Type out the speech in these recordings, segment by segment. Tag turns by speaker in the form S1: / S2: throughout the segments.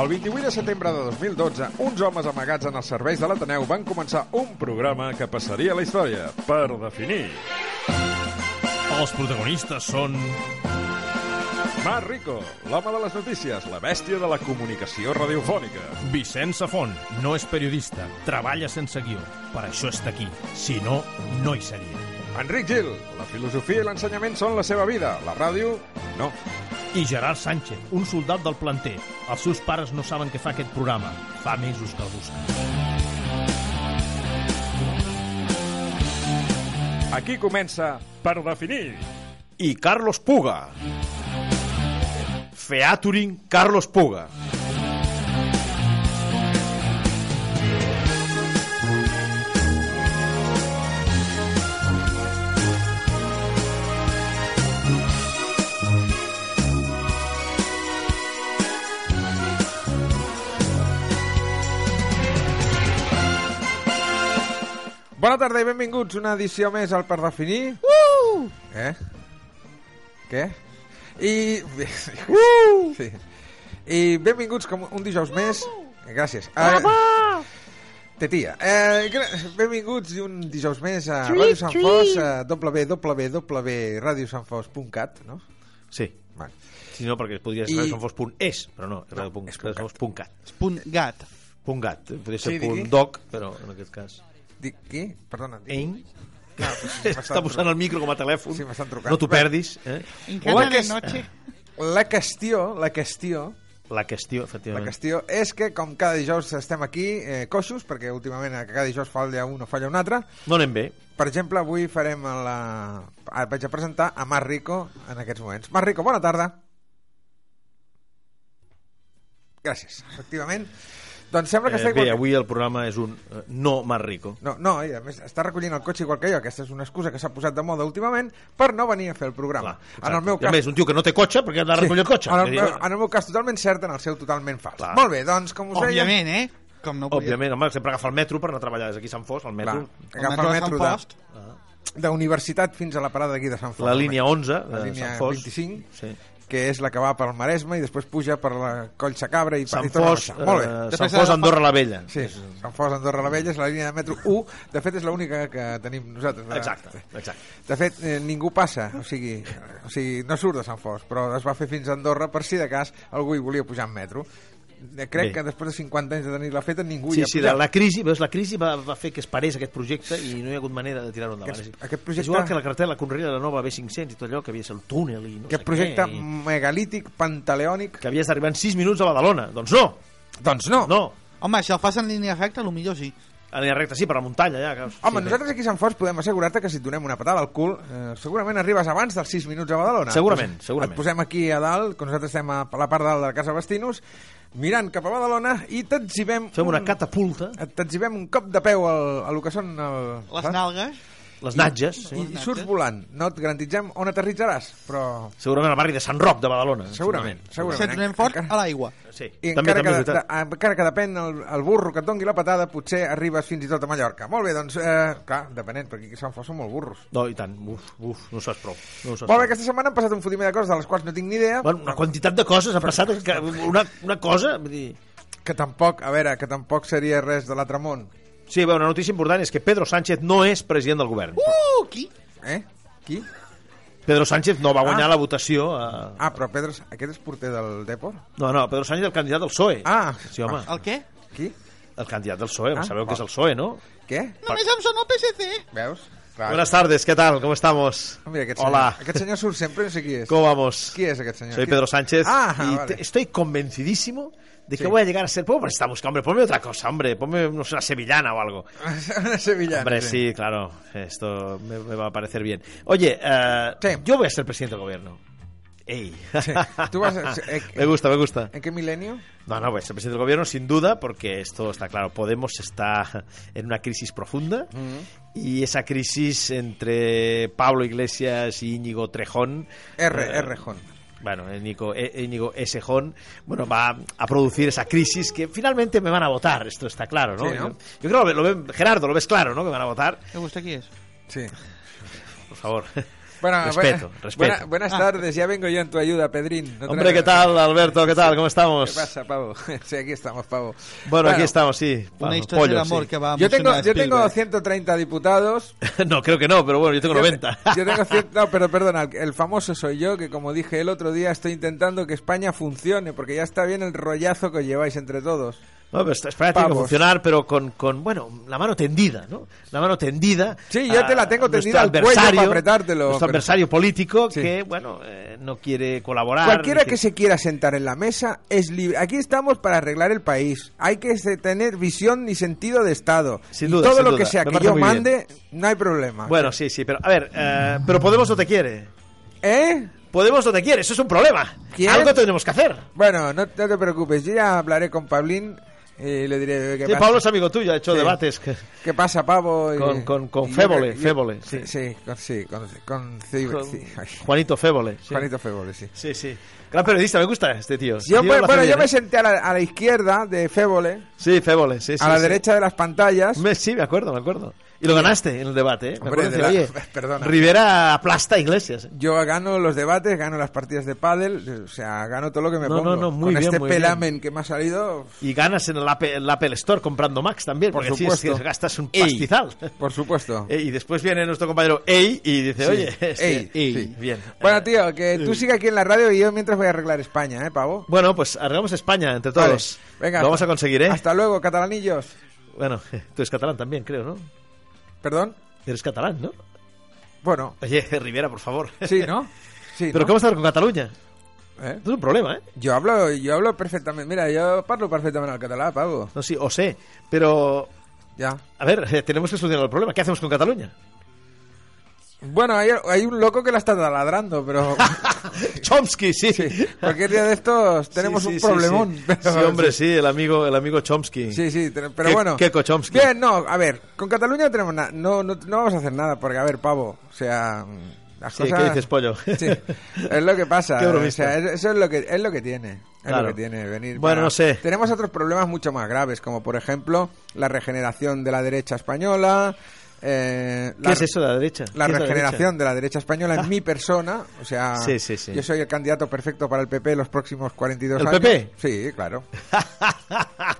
S1: El 28 de setembre de 2012, uns homes amagats en els serveis de l'Ateneu van començar un programa que passaria a la història, per definir.
S2: Els protagonistes són...
S1: Mar Rico, l'home de les notícies, la bèstia de la comunicació radiofònica.
S2: Vicenç Safont no és periodista, treballa sense guió. Per això està aquí. Si no, no hi seria.
S1: Enric Gil, la filosofia i l'ensenyament són la seva vida, la ràdio, no.
S2: I Gerard Sánchez, un soldat del planter. Els seus pares no saben què fa aquest programa. Fa mesos que el busquen.
S1: Aquí comença Per definir.
S3: i Carlos Puga. Featuring Carlos Puga.
S1: Bona tarda i benvinguts a una edició més al Per definir. Uh! Eh? Què? I... Uh! Sí. I benvinguts com un dijous més. Gràcies. Papa! Tetia. Eh, gra- benvinguts un dijous més a Ràdio Sant Fos, a www.radiosanfos.cat, no?
S3: Sí.
S1: Vale.
S3: Si no, perquè es podria
S1: I-
S3: ser I... radiosanfos.es, però no, és radiosanfos.cat.
S4: Punt gat.
S3: Punt gat. Podria ser
S1: Sí,
S3: sí,
S1: digui.
S3: punt doc, però en aquest cas...
S1: Dic, qui? Perdona. Dic.
S3: Ein.
S1: m'estan
S3: Està posant el micro com a telèfon.
S1: Sí, m'estan trucant.
S3: no t'ho perdis. Eh?
S4: Encanta
S1: que
S4: de
S1: és-
S4: noche.
S1: La qüestió, la qüestió,
S3: La qüestió,
S1: la
S3: efectivament.
S1: qüestió és que com cada dijous estem aquí eh, coixos, perquè últimament a cada dijous falla un o falla un altre,
S3: No anem bé.
S1: Per exemple, avui farem la... ah, Vaig a presentar a Mar Rico en aquests moments. Mar Rico, bona tarda. Gràcies, efectivament. Doncs sembla que
S3: Eh,
S1: està
S3: bé,
S1: igual...
S3: avui el programa és un eh, no más rico.
S1: No, no, i a més està recollint el cotxe igual que jo. Aquesta és una excusa que s'ha posat de moda últimament per no venir a fer el programa.
S3: Clar,
S1: Ah, en el meu
S3: I a
S1: cas...
S3: més, un tio que no té cotxe perquè ha de recollir el cotxe. És
S1: en,
S3: a
S1: el
S3: dir,
S1: meu, en el meu cas totalment cert, en el seu totalment fals.
S3: Clar.
S1: Molt bé, doncs com us deia...
S4: Òbviament, eh? Com no podia...
S3: Òbviament, home, sempre agafa el metro per anar a treballar des d'aquí a Sant Fos, el
S1: Clar,
S3: metro.
S1: agafa el metro de, d'universitat fins a la parada d'aquí de Sant Fons.
S3: La línia 11 de
S1: la línia
S3: Sant Fos.
S1: 25.
S3: Sí.
S1: que és la que va pel Maresme i després puja per la Coll Sacabra i,
S3: Sant
S1: i torna a
S3: Fos,
S1: baixar.
S3: eh,
S1: Molt bé.
S3: Sant
S4: Després
S3: Fos,
S4: agafa-
S3: Andorra la Vella.
S1: Sí, Sant Fos, Andorra la Vella és la línia de metro 1. De fet, és l'única que tenim nosaltres. eh? De-
S3: Exacte, exacte.
S1: De fet, eh, ningú passa, o sigui, o sigui, no surt de Sant Fos, però es va fer fins a Andorra per si de cas algú hi volia pujar en metro. Eh, Crec
S3: Bé.
S1: que després de 50 anys de tenir-la feta ningú
S3: Sí,
S1: hi ha
S3: sí,
S1: pujat.
S3: la, la crisi, veus, la crisi va, va fer que es parés aquest projecte i no hi ha hagut manera de tirar-ho endavant.
S1: Aquest-
S3: És a dir,
S1: aquest projecte-
S3: És igual que la carretera, la Conrera de la Nova B500 i tot allò, que havies el túnel i no
S1: Aquest
S3: sé
S1: projecte
S3: què, i...
S1: megalític, pantaleònic...
S3: que havies d'arribar en 6 minuts a Badalona. Doncs no,
S1: Doncs no!
S3: no.
S4: Home, si el fas en línia recta, potser sí.
S3: A la recta sí, per la muntanya, ja. Que...
S1: Home,
S3: sí,
S1: nosaltres aquí a Sant Fos podem assegurar-te que si et donem una patada al cul, eh, segurament arribes abans dels 6 minuts a Badalona.
S3: Segurament,
S1: Pues,
S3: segurament.
S1: Et posem aquí a dalt, que nosaltres estem a la part dalt de la Casa Bastinos, mirant cap a Badalona i t'exhibem...
S3: Fem una
S1: un-
S3: catapulta,
S1: et- T'exhibem un cop de peu al, a lo que són... El,
S4: Les nalgues.
S3: les natges,
S1: I,
S3: sí.
S1: I surts volant. No et garantitzem on aterritzaràs, però...
S3: segurament al barri de Sant Roc de Badalona. eh,
S1: Segurament, segurament.
S4: Si et donem fort,
S1: Encara-
S4: a l'aigua.
S3: Sí,
S1: I
S3: també,
S1: encara,
S3: també és
S1: que,
S3: veritat.
S1: de, encara que depèn el, el burro que et dongui la patada, potser arribes fins i tot a Mallorca. Molt bé, doncs, eh, clar, depenent, perquè aquí a Sant Fos són molt burros.
S3: No, i tant. Uf, uf, no ho saps prou. No ho saps
S1: Molt bé,
S3: prou.
S1: aquesta setmana han passat un fotimer de coses de les quals no tinc ni idea,
S3: Bueno, una quantitat de coses ha passat, que una, una cosa... Vull dir...
S1: que tampoc, a veure, que tampoc seria res de l'altre món.
S3: Sí, bé, una notícia important és que Pedro Sánchez no és president del govern.
S4: Uh, qui?
S1: Eh? Qui?
S3: Pedro Sánchez no va guanyar
S1: Ah.
S3: la votació a...
S1: Ah, però Pedro, aquest és porter del Depor?
S3: No, no, Pedro Sánchez és el candidat del PSOE.
S1: Ah.
S3: Sí, home,
S4: El què?
S1: Qui?
S3: E. el candidat del PSOE,
S1: Ah.
S3: E, sabeu que és el PSOE, no?
S1: Què?
S4: Només em sona el PSC.
S1: Veus? Clar.
S3: Buenas tardes, ¿qué tal? ¿Cómo estamos?
S1: Ah. Mira, aquest senyor,
S3: Hola.
S1: aquest senyor surt sempre, no sé qui és.
S3: ¿Cómo vamos?
S1: Qui és aquest senyor?
S3: Soy
S1: Qui-
S3: Pedro Sánchez
S1: Ah,
S3: y
S1: vale.
S3: te- estoy convencidísimo de que
S1: Sí.
S3: voy a llegar a ser... Pobre, está buscando, hombre, ponme otra cosa, hombre, ponme no sé, una sevillana o algo.
S1: Una sevillana.
S3: Hombre, sí, claro, esto me, me va a parecer bien. Oye, eh,
S1: Sí.
S3: yo voy a ser presidente del gobierno. Ey.
S1: Tú vas a ser- eh,
S3: me gusta, me gusta.
S1: ¿En qué milenio?
S3: No, no, voy a ser presidente del gobierno sin duda, porque esto está claro. Podemos está en una crisis profunda y esa crisis entre Pablo Iglesias y Íñigo Trejón.
S1: R,
S3: eh,
S1: R, Jón.
S3: Bueno, Íñigo, eh, Íñigo Sejón, bueno, va a producir esa crisis que finalmente me van a votar, esto está claro, ¿no?
S1: Sí, ¿no?
S3: Yo, yo creo
S4: Eh,
S3: que lo ven, Gerardo, lo ves claro, ¿no? Que me van a votar.
S4: ¿Te gusta qui és?
S1: Sí.
S3: Por favor.
S1: Bueno,
S3: respeto,
S1: buena-
S3: respeto.
S1: buena- buenas tardes, ya vengo yo en tu ayuda, Pedrín. No te-
S3: Hombre, ¿qué tal, Alberto? ¿Qué tal? ¿Cómo
S1: ¿Qué
S3: estamos?
S1: pasa, Pavo? Sí, aquí estamos, Pavo.
S3: Bueno, aquí estamos, sí.
S4: Una
S3: Pablo,
S4: historia
S3: pollo,
S4: de amor
S3: sí.
S4: que va a
S1: Yo tengo,
S4: emocionar a
S1: yo tengo
S4: Spielberg.
S1: 130 diputados.
S3: no, creo que no, pero bueno, yo tengo
S1: Yo te-
S3: 90.
S1: Yo tengo 100 no, pero perdona, el- el famoso soy yo, que como dije el otro día, estoy intentando que España funcione, porque ya está bien el rollazo que os lleváis entre todos.
S3: No, pero esta- España tiene que
S1: Pavos.
S3: funcionar, pero con, con, bueno, la mano tendida, ¿no? La mano tendida.
S1: Sí, yo
S3: a
S1: te la tengo
S3: nuestro
S1: tendida al cuello
S3: adversario,
S1: para apretártelo,
S3: Nuestro
S1: pero-
S3: adversario político
S1: Sí.
S3: que, bueno, eh, no quiere colaborar.
S1: Cualquiera
S3: ni
S1: que se quiera sentar en la mesa es libre. Aquí estamos para arreglar el país. Hay que se- tener visión y sentido de Estado.
S3: Sin
S1: Y
S3: duda,
S1: todo
S3: sin
S1: lo
S3: duda.
S1: que sea
S3: Me
S1: que
S3: parece
S1: yo
S3: muy bien.
S1: mande, no hay problema.
S3: Bueno, sí, sí, pero a ver, eh, pero Podemos no te quiere.
S1: ¿Eh?
S3: Podemos no te quiere, eso es un problema.
S1: ¿Quién?
S3: Algo tendremos que hacer.
S1: Bueno, no, no te preocupes. Yo ya hablaré con Pablín eh, y le diré que
S3: Sí, Pablo es amigo tuyo, ha hecho
S1: Sí.
S3: debates. que-
S1: ¿Qué pasa, pavo? Y-
S3: Con- con- con
S1: y yo
S3: Fébole,
S1: creo- yo-
S3: Fébole, sí.
S1: Sí, sí, con, sí, con, con Ciber,
S3: con
S1: sí. Ay,
S3: Juanito Fébole. sí.
S1: Juanito Fébole, sí.
S3: Sí, sí. Gran periodista, me gusta este tío. Este
S1: Yo
S3: tío
S1: me-
S3: lo hace
S1: bueno,
S3: bien,
S1: yo me
S3: ¿eh?
S1: senté a la, a la izquierda de Fébole,
S3: Sí, Fébole, sí, sí,
S1: a la
S3: sí.
S1: derecha de las pantallas.
S3: Me- sí, me acuerdo, me acuerdo. Y lo ganaste en el debate, ¿eh? Me
S1: Hombre,
S3: acuerdo
S1: de
S3: decir,
S1: la-
S3: oye,
S1: perdona.
S3: Rivera aplasta a Iglesias. ¿eh?
S1: Yo gano los debates, gano las partidas de pádel, o sea, gano todo lo que me
S3: No, no,
S1: pongo.
S3: no, muy
S1: Con
S3: bien,
S1: este
S3: muy bien.
S1: pelamen que me ha salido,
S3: Y ganas en el Apple, el Apple Store comprando Max también,
S1: Por
S3: porque sí, es que
S1: supuesto.
S3: gastas un
S1: Ey.
S3: pastizal.
S1: por supuesto.
S3: Eh, y después viene nuestro compañero Ey y dice,
S1: Sí.
S3: oye, este,
S1: Ey, sí.
S3: bien.
S1: Bueno, tío,
S3: eh,
S1: que tú sigue aquí en la radio y yo mientras voy a arreglar España, ¿eh, pavo?
S3: Bueno, pues arreglamos España entre
S1: Vale.
S3: todos.
S1: Venga,
S3: Lo vamos
S1: hasta-
S3: a conseguir, ¿eh?
S1: Hasta luego, catalanillos.
S3: Bueno, tú eres catalán también, creo, ¿no?
S1: ¿Perdón?
S3: Eres catalán, ¿no?
S1: Bueno,
S3: Oye, Rivera, por favor.
S1: sí, ¿no? Sí,
S3: Pero
S1: ¿no?
S3: ¿cómo estar con Cataluña?
S1: ¿Eh?
S3: Esto es un problema, ¿eh?
S1: Yo hablo, yo hablo perfectamente. Mira, yo parlo perfectamente al catalán, Pablo.
S3: No, sí, o sé. Pero,
S1: Ya.
S3: a ver, eh, tenemos que solucionar el problema. ¿Qué hacemos con Cataluña?
S1: Bueno, hay, hay un loco que la está taladrando, pero
S3: Chomsky, sí.
S1: sí, cualquier día de estos tenemos
S3: Sí, sí,
S1: un
S3: sí,
S1: problemón.
S3: Sí,
S1: pero-
S3: Sí, hombre, sí, el amigo, el amigo Chomsky.
S1: Sí, sí, te- pero
S3: Ke-
S1: bueno.
S3: Keiko Chomsky.
S1: Bien, no, a ver, con Cataluña no tenemos nada. No, no, no vamos a hacer nada, porque, a ver, pavo, o sea. mm, Las
S3: Sí,
S1: cosas...
S3: ¿qué dices, pollo?
S1: Sí, es lo que pasa.
S3: Qué
S1: o
S3: bromista.
S1: sea, es- eso es lo que, es lo que tiene. Es
S3: Claro.
S1: lo que tiene venir.
S3: Bueno, no sé.
S1: Tenemos otros problemas mucho más graves, como por ejemplo la regeneración de la derecha española. eh,
S3: ¿Qué
S1: la-
S3: es eso de la derecha?
S1: La
S3: ¿Qué es
S1: regeneración de la derecha española en mi persona, o sea,
S3: Ah. Sí, sí, sí.
S1: yo soy el candidato perfecto para el PP los próximos 42
S3: ¿El
S1: años.
S3: PP?
S1: Sí, claro.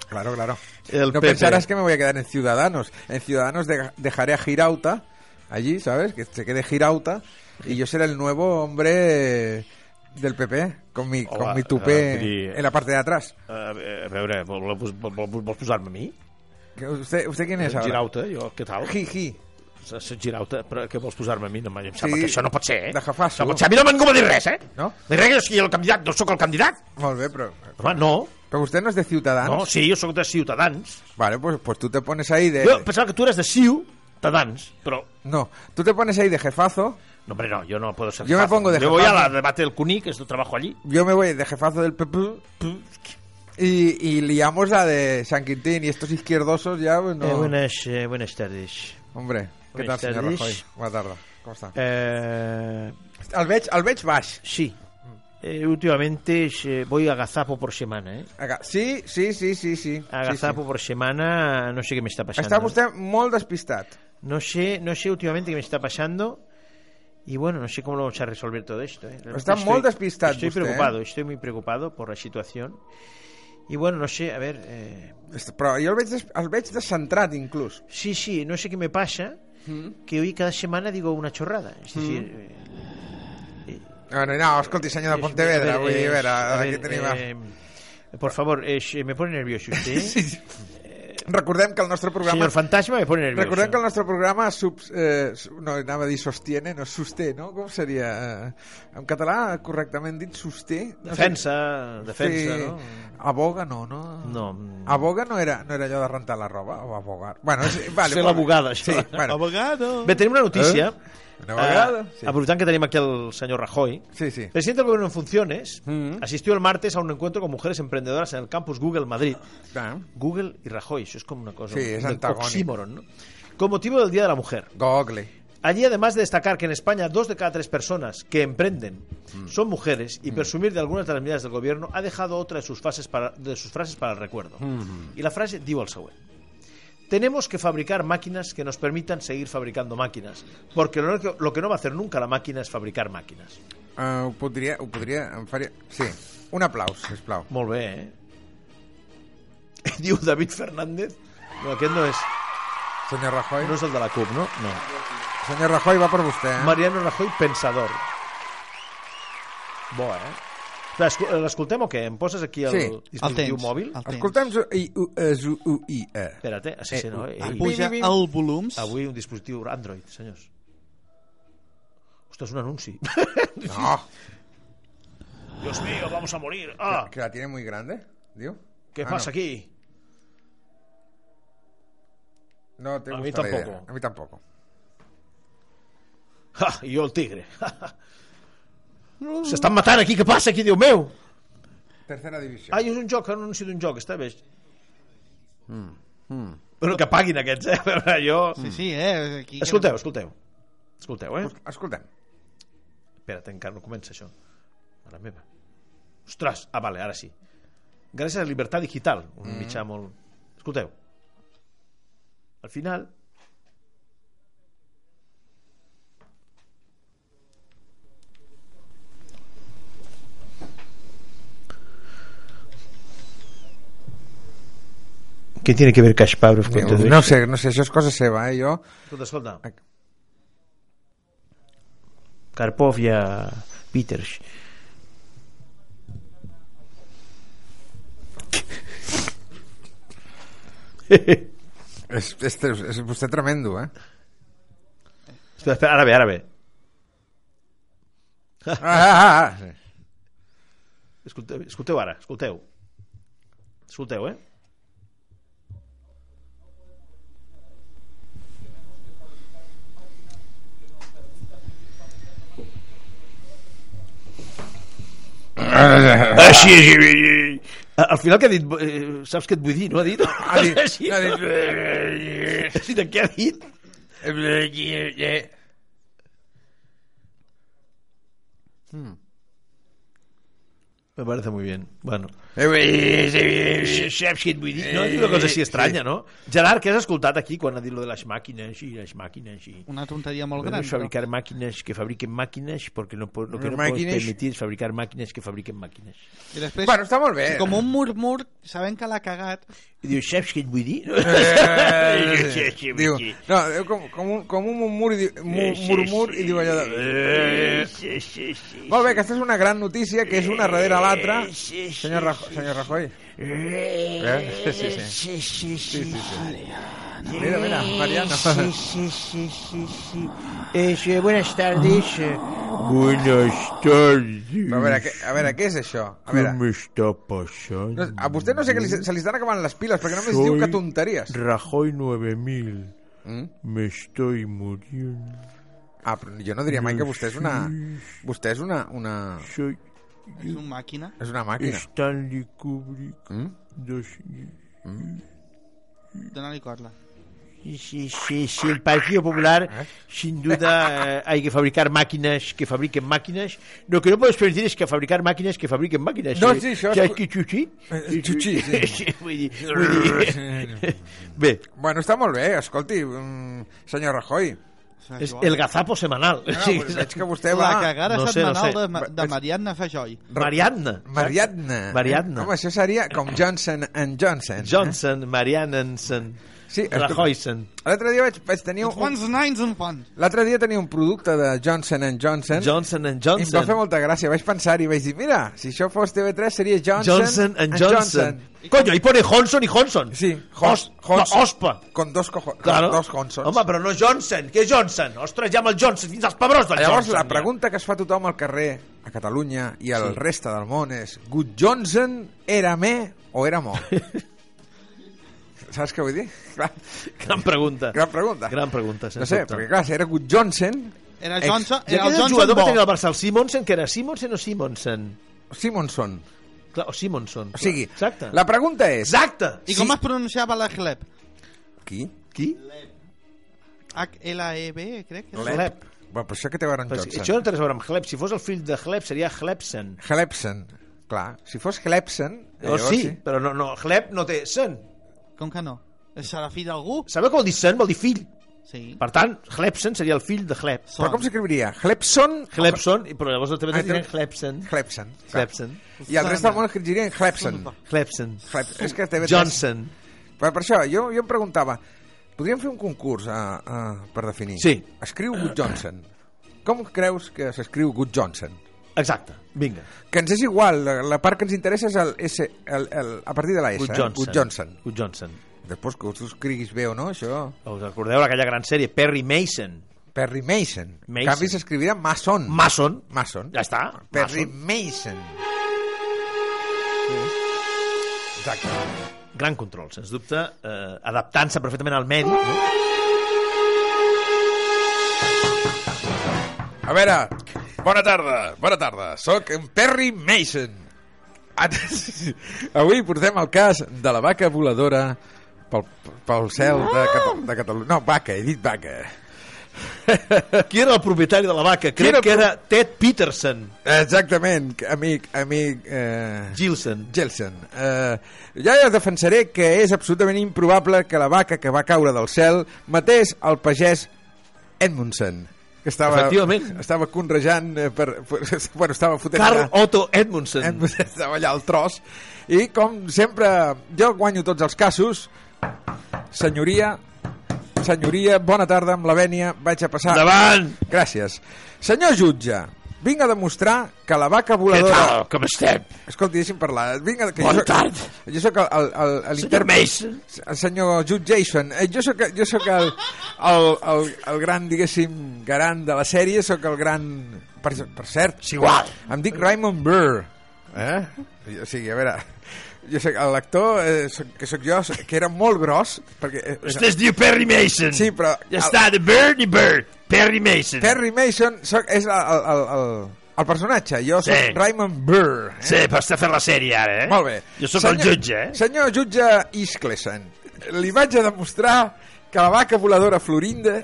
S1: Claro, claro.
S3: El
S1: no
S3: PP.
S1: pensarás que me voy a quedar en Ciudadanos. En Ciudadanos de- dejaré a Girauta allí, ¿sabes? Que se quede Girauta y yo seré el nuevo hombre del PP con mi,
S3: Hola,
S1: con mi tupé
S3: Adri.
S1: en la parte de atrás.
S3: A veure, a veure, vol- vol- vol- vol- vols posar-me a mi?
S1: ¿Que ¿Usted, usted quién es ahora?
S3: Girauta, jo, què tal?
S1: Jiji.
S3: Soc Girauta, però què vols posar-me a mi? No, em em sembla
S1: Sí.
S3: que això no pot ser, eh?
S1: De jefasso.
S3: No pot ser, a mi no m'han de dir res, eh?
S1: No?
S3: Ni res, jo sóc el candidat, no sóc el candidat.
S1: Molt bé, però,
S3: Home, no,
S1: pero usted Ah, no Eh. es de Ciudadanos.
S3: no, sí, jo sóc de Ciutadans.
S1: Vale, pues, pues tú te pones ahí de...
S3: Jo pensava que tu eres de Ciutadans, però...
S1: No, tú te pones ahí de jefazo,
S3: No, hombre, no, yo no puedo ser
S1: Yo me
S3: jefazo.
S1: pongo de
S3: Yo voy a
S1: jefazo.
S3: la debate del CUNY, que es tu trabajo allí.
S1: yo me voy de jefazo del PP y, y liamos la de San Quintín y estos izquierdosos ya, pues no...
S3: Eh, buenas tardes.
S1: Hombre, què tal,
S3: Buenas
S1: senyor
S3: tardes.
S1: Rajoy? Bona tarda, com està?
S3: Eh...
S1: El veig, el veig baix.
S3: Sí.
S1: Mm.
S3: Eh, últimamente eh, voy a agazapo por semana, ¿eh?
S1: Aga- Sí, sí, sí, sí, sí. sí, sí.
S3: Agazapo por semana, no sé qué me está pasando.
S1: Està vostè molt despistat.
S3: No sé, no sé últimamente qué me está pasando. Y bueno, no sé cómo lo vamos a resolver todo esto. ¿eh? Realmente
S1: Está muy despistado
S3: Estoy
S1: usted, ¿eh?
S3: preocupado, estoy muy preocupado por la situación. Y bueno, no sé, a ver. eh,
S1: Est- Però jo el veig, des- el veig descentrat, inclús.
S3: sí, sí, no sé qué me pasa.
S1: Mm.
S3: Que hoy cada semana digo una chorrada. Es decir, eh,
S1: Bueno, no, escolti, senyor de
S3: es-
S1: Pontevedra, vull dir, Ah, a veure,
S3: a
S1: aquí
S3: ver,
S1: tenim... a-
S3: eh, por favor, eh, me pone nervioso usted. ¿eh?
S1: Sí, sí. Recordem que el nostre programa...
S3: Señor Fantasma me pone nervioso.
S1: Recordem que el nostre programa sub, eh, su- no, anava a dir sostiene, no sosté, no? Com seria? Eh, en català, correctament dit, sosté. No sé.
S3: Defensa, defensa,
S1: Sí.
S3: ¿no?
S1: Aboga no, no?
S3: No.
S1: Aboga no era, no era allò de rentar la roba o abogar. Bueno, sí, vale,
S3: Ser
S1: molt bé.
S3: l'abogada, això.
S1: Sí, bueno.
S4: Abogado.
S3: Bé, tenim una notícia.
S1: Eh? Una vegada,
S3: Eh,
S1: sí.
S3: Aprofitant que tenim aquí el senyor Rajoy.
S1: Sí, sí.
S3: El presidente del Gobierno en funciones
S1: Mm.
S3: asistió el martes a un encuentro con mujeres emprendedoras en el campus Google Madrid.
S1: Ah,
S3: Google y Rajoy, eso es como una cosa.
S1: Sí, es
S3: un
S1: antagónico.
S3: oxímoron, ¿no? Con motivo del Día de la Mujer.
S1: Google.
S3: Allí, además de destacar que en España dos de cada tres personas que emprenden son mujeres y presumir de algunas de las medidas del gobierno Mm-hmm. ha dejado otra de sus, fases para- de sus frases para el recuerdo. Y la frase digo al següent. Tenemos que fabricar máquinas que nos permitan seguir fabricando máquinas, porque lo que, lo que no va a hacer nunca la máquina es fabricar máquinas.
S1: Uh, ho podria... Ho podria em faria... Sí, un aplaus, sisplau.
S3: Molt bé, eh? Diu David Fernández. No, aquest no és,
S1: Senyor Rajoy.
S3: no és el de la CUP, no? No.
S1: Senyor Rajoy va per vostè. Eh?
S3: Mariano Rajoy, pensador. Bo, eh? Clar, escu- eh, L'escoltem o què? Em poses aquí el
S1: Sí.
S4: El
S3: dispositiu
S4: temps.
S3: mòbil?
S4: El temps.
S1: Escoltem su, i, u, es, u, u, i, e.
S3: Espera't, eh? Sí, sí, no?
S1: Eh,
S3: Ei,
S1: ui.
S4: Puja
S1: Bim, bim, bim.
S4: el volums.
S3: avui un dispositiu Android, senyors. Ostres, un anunci.
S1: No,
S2: Dios mío, vamos a morir. Ah,
S1: que la tiene muy grande, diu.
S3: ¿qué
S1: Ah,
S3: pasa
S1: no.
S3: aquí?
S1: No, te
S3: A
S1: gusta
S3: mí
S1: la idea.
S3: tampoco.
S1: A mí tampoco.
S3: Ja, i jo el tigre. S'estan matant aquí, què passa aquí, Déu meu?
S1: Tercera divisió.
S3: Ai, és un joc, un anunci d'un joc, està bé. Mm. Bueno, que paguin aquests, eh? A veure, jo...
S4: Sí, sí, eh? Aquí
S3: Escolteu, escolteu. Escolteu,
S1: Pues,
S3: eh?
S1: Escoltem.
S3: Espera't, encara no comença això. Mare meva. Ostres! Ah, vale, ara sí. Gràcies a Libertat Digital, un mitjà molt... Escolteu. Al final... ¿Qué tiene que ver Cash Power con todo
S1: No sé, no sé, això és cosa seva, eh? Jo...
S3: Escolta, escolta. Karpov i a Peters. espera,
S1: És, és, és, és vostè tremendo, eh?
S3: espera, ara ve, ara ve.
S1: Ah, ah, ah. Sí.
S3: Escolteu, escolteu ara, escolteu. Escolteu, eh? Així, així, així. Al final que ha dit... Eh, saps què et vull dir, no? Ha dit...
S1: Ha dit- eh,
S3: Així.
S1: ha
S3: Ha dit, què ha dit? Me parece muy bien. Bueno.
S1: Eh,
S3: Saps què et vull dir? No, és una cosa així
S1: eh.
S3: estranya, no? Gerard, què has escoltat aquí quan ha dit lo de les màquines i les màquines i...
S4: Una tonteria molt gran.
S3: Podemos fabricar máquinas que fabriquen máquinas porque no, po- lo que no
S1: Máquinas.
S3: podemos permitir es fabricar máquinas que fabriquen máquinas.
S4: però- I després,
S1: Bueno, està molt bé.
S4: com un murmur, sabent que l'ha cagat,
S3: I diu, saps què et vull dir?
S1: Eh, Diu, no, eh, com, com, un, com un murmur i, diu, mu- murmur i diu allò de... "Eh,
S3: Sí, sí, sí.
S1: Molt bé, aquesta és una gran notícia, que és una darrere l'altra. Senyor, Rajo, senyor Rajoy. Eh? Sí, sí.
S5: Sí, sí, sí.
S1: Mira, mira, Mariano.
S5: Sí, sí, sí, sí, sí. Eh, sí, buenas tardes. eh.
S6: Buenas tardes.
S1: Però a veure, què, a veure, què és això? A veure,
S6: ¿Cómo está pasando?
S1: no, a vostè no sé que li, se li estan acabant les piles, perquè només diu que tonteries.
S6: Rajoy 9000.
S1: Mm?
S6: Me estoy muriendo.
S1: Ah, però jo no diria mai que vostè és una... Vostè és una... una
S6: Soy
S4: és una màquina.
S1: és una màquina.
S6: Stanley Kubrick.
S1: Mm?
S6: Dos...
S4: Dóna-li corda.
S3: Sí, sí, sí, sí, el Partido Popular,
S1: Ah.
S3: sin duda, eh, hay que fabricar máquinas que fabriquen máquinas. Lo que no podemos permitir es que fabricar máquinas que fabriquen máquinas.
S1: No,
S3: Eh,
S1: sí, això és-
S3: Saps qui xuxi?
S1: Eh, xuxi, sí.
S3: vull dir, vull dir. Bé,
S1: Bueno, està molt bé, escolti, mm, senyor Rajoy.
S3: és el gazapo semanal.
S1: Ah,
S3: Sí,
S1: pues veig
S3: saps?
S1: que vostè
S4: La
S1: va...
S4: cagada
S3: no sé, no
S4: setmanal
S3: sé.
S4: de, Ma- de Marianna Fajoi.
S3: Marianne.
S1: Mariadna.
S3: Mariadna.
S1: eh? Home, això seria com Johnson and Johnson.
S3: Johnson, Mariannensen,
S1: Sí, escolta.
S3: Rajoysen.
S1: L'altre dia vaig, vaig tenir un...
S4: Quants nines en fan?
S1: L'altre dia tenia un producte de Johnson and Johnson.
S3: Johnson and
S1: I em va fer
S3: Johnson.
S1: molta gràcia. Vaig pensar i vaig dir, mira, si això fos TV3 seria Johnson,
S3: Johnson and Johnson. Coño, ahí pone Johnson y Johnson.
S1: Sí,
S3: Hos,
S1: Hos- Hons-
S3: no, Ospa.
S1: Con dos, cojo...
S3: Claro.
S1: con dos Johnsons.
S3: Home, però no Johnson. Què és Johnson? Ostres, llama el Johnson fins als pebrons del
S1: Llavors,
S3: Johnson.
S1: la pregunta que es fa tothom al carrer, a Catalunya i al sí. resta del món és Good Johnson era me o era mo? Saps què vull dir? Clar,
S3: Ja. Gran pregunta.
S1: gran pregunta.
S3: Gran pregunta,
S1: no
S3: sense
S1: sé,
S3: dubte.
S1: perquè clar, si era Good Johnson...
S4: Era
S1: ex-
S4: Johnson,
S3: I aquest és
S4: era el
S3: el
S4: Johnson
S3: jugador que
S4: bo.
S3: tenia el Barça, el Simonsen, que era Simonsen o Simonsen?
S1: Simonson.
S3: Clar, o Simonson.
S1: O sigui,
S3: Exacte.
S1: la pregunta és...
S3: Exacte.
S4: I com
S3: Sí.
S4: es pronunciava la Hleb?
S1: Qui?
S3: Qui?
S4: H-L-E-B, E crec que era.
S3: Hleb.
S1: Bueno, però això que té a veure amb
S3: Però
S1: Johnson.
S3: si, això no té res a veure amb Hleb. Si fos el fill de Hleb, seria Hlebsen.
S1: Hlepsen, clar. Si fos Hlepsen...
S3: Oh,
S1: llavors
S3: sí, però no, no, Hleb no té sen.
S4: Com que no? És serafí d'algú?
S3: Sabeu que vol dir sen? Vol dir fill.
S4: Sí.
S3: Per tant, Hlepsen seria el fill de Hlep.
S1: Però com s'escriuria? Hlepson?
S3: Hlepson, i- però llavors també
S1: Ah,
S3: ens diran
S1: tenen-
S3: Hlepsen.
S1: Hlepson.
S3: Hlepsen.
S1: I el rest del món escriurien Hlepson.
S3: Hlepsen.
S1: Hlep... És que TV3...
S3: Johnson.
S1: Per, per això, jo, jo em preguntava, podríem fer un concurs a, a, per definir?
S3: Sí.
S1: Escriu Good Johnson. Com creus que s'escriu Good Johnson?
S3: Exacte, vinga.
S1: Que ens és igual, la, la part que ens interessa és el S, el, el, a partir de la S.
S3: Good
S1: eh?
S3: Johnson.
S1: Good Johnson.
S3: Good Johnson.
S1: Després que tu escriguis bé o no, això...
S3: Us recordeu d'aquella gran sèrie, Perry Mason.
S1: Perry Mason.
S3: Mason.
S1: En canvi s'escrivia Mason.
S3: Mason.
S1: Mason.
S3: Ja està.
S1: Perry
S3: Mason.
S1: Mason. Exacte.
S3: Gran control, sens dubte, eh, adaptant-se perfectament al medi. No?
S1: A veure, bona tarda, bona tarda. Soc en Perry Mason. At- Avui portem el cas de la vaca voladora pel, pel cel de, Cata- de Catalunya. No, vaca, he dit vaca.
S3: Qui era el propietari de la vaca?
S1: Qui
S3: Crec
S1: era
S3: que era Ted Peterson.
S1: Exactament, amic, amic... Eh...
S3: Gilson.
S1: Gelsen, eh, ja ja defensaré que és absolutament improbable que la vaca que va caure del cel matés el pagès Edmundson, que estava,
S3: Efectivament.
S1: estava conrejant eh, per, per, bueno, estava fotent
S3: Carl
S1: allà-
S3: Otto Edmundson.
S1: Edmundson estava allà al tros i com sempre jo guanyo tots els casos senyoria senyoria, bona tarda amb la vènia vaig a passar
S3: Endavant!
S1: gràcies senyor jutge, vinc a demostrar que la vaca
S3: Què
S1: voladora
S3: tal? Com estem?
S1: Escolti, deixi'm parlar. Vinga, que
S3: Bona
S1: jo soc,
S3: tarda.
S1: Jo sóc el... el, el, el
S3: Senyor Mason.
S1: El senyor Jude Jason. Eh, Jo sóc, jo sóc el, el, el, el gran, diguéssim, garant de la sèrie. Sóc el gran... Per, per cert,
S3: És igual.
S1: em dic Raymond Burr. Eh? O sigui, a veure... Jo sé que l'actor eh, soc, que sóc jo, que era molt gros, perquè... Eh,
S3: Vostè es diu Perry Mason.
S1: Sí, però-
S3: Ja està, de Bird i Bird. Perry Mason.
S1: Terry Mason soc, és el, el, el, el, el personatge. Jo soc
S3: Sí.
S1: Raymond Burr. Eh?
S3: Sí, però està fent la sèrie ara, eh?
S1: Molt bé.
S3: Jo sóc el jutge, eh?
S1: Senyor jutge Isclesen, li vaig a demostrar que la vaca voladora Florinda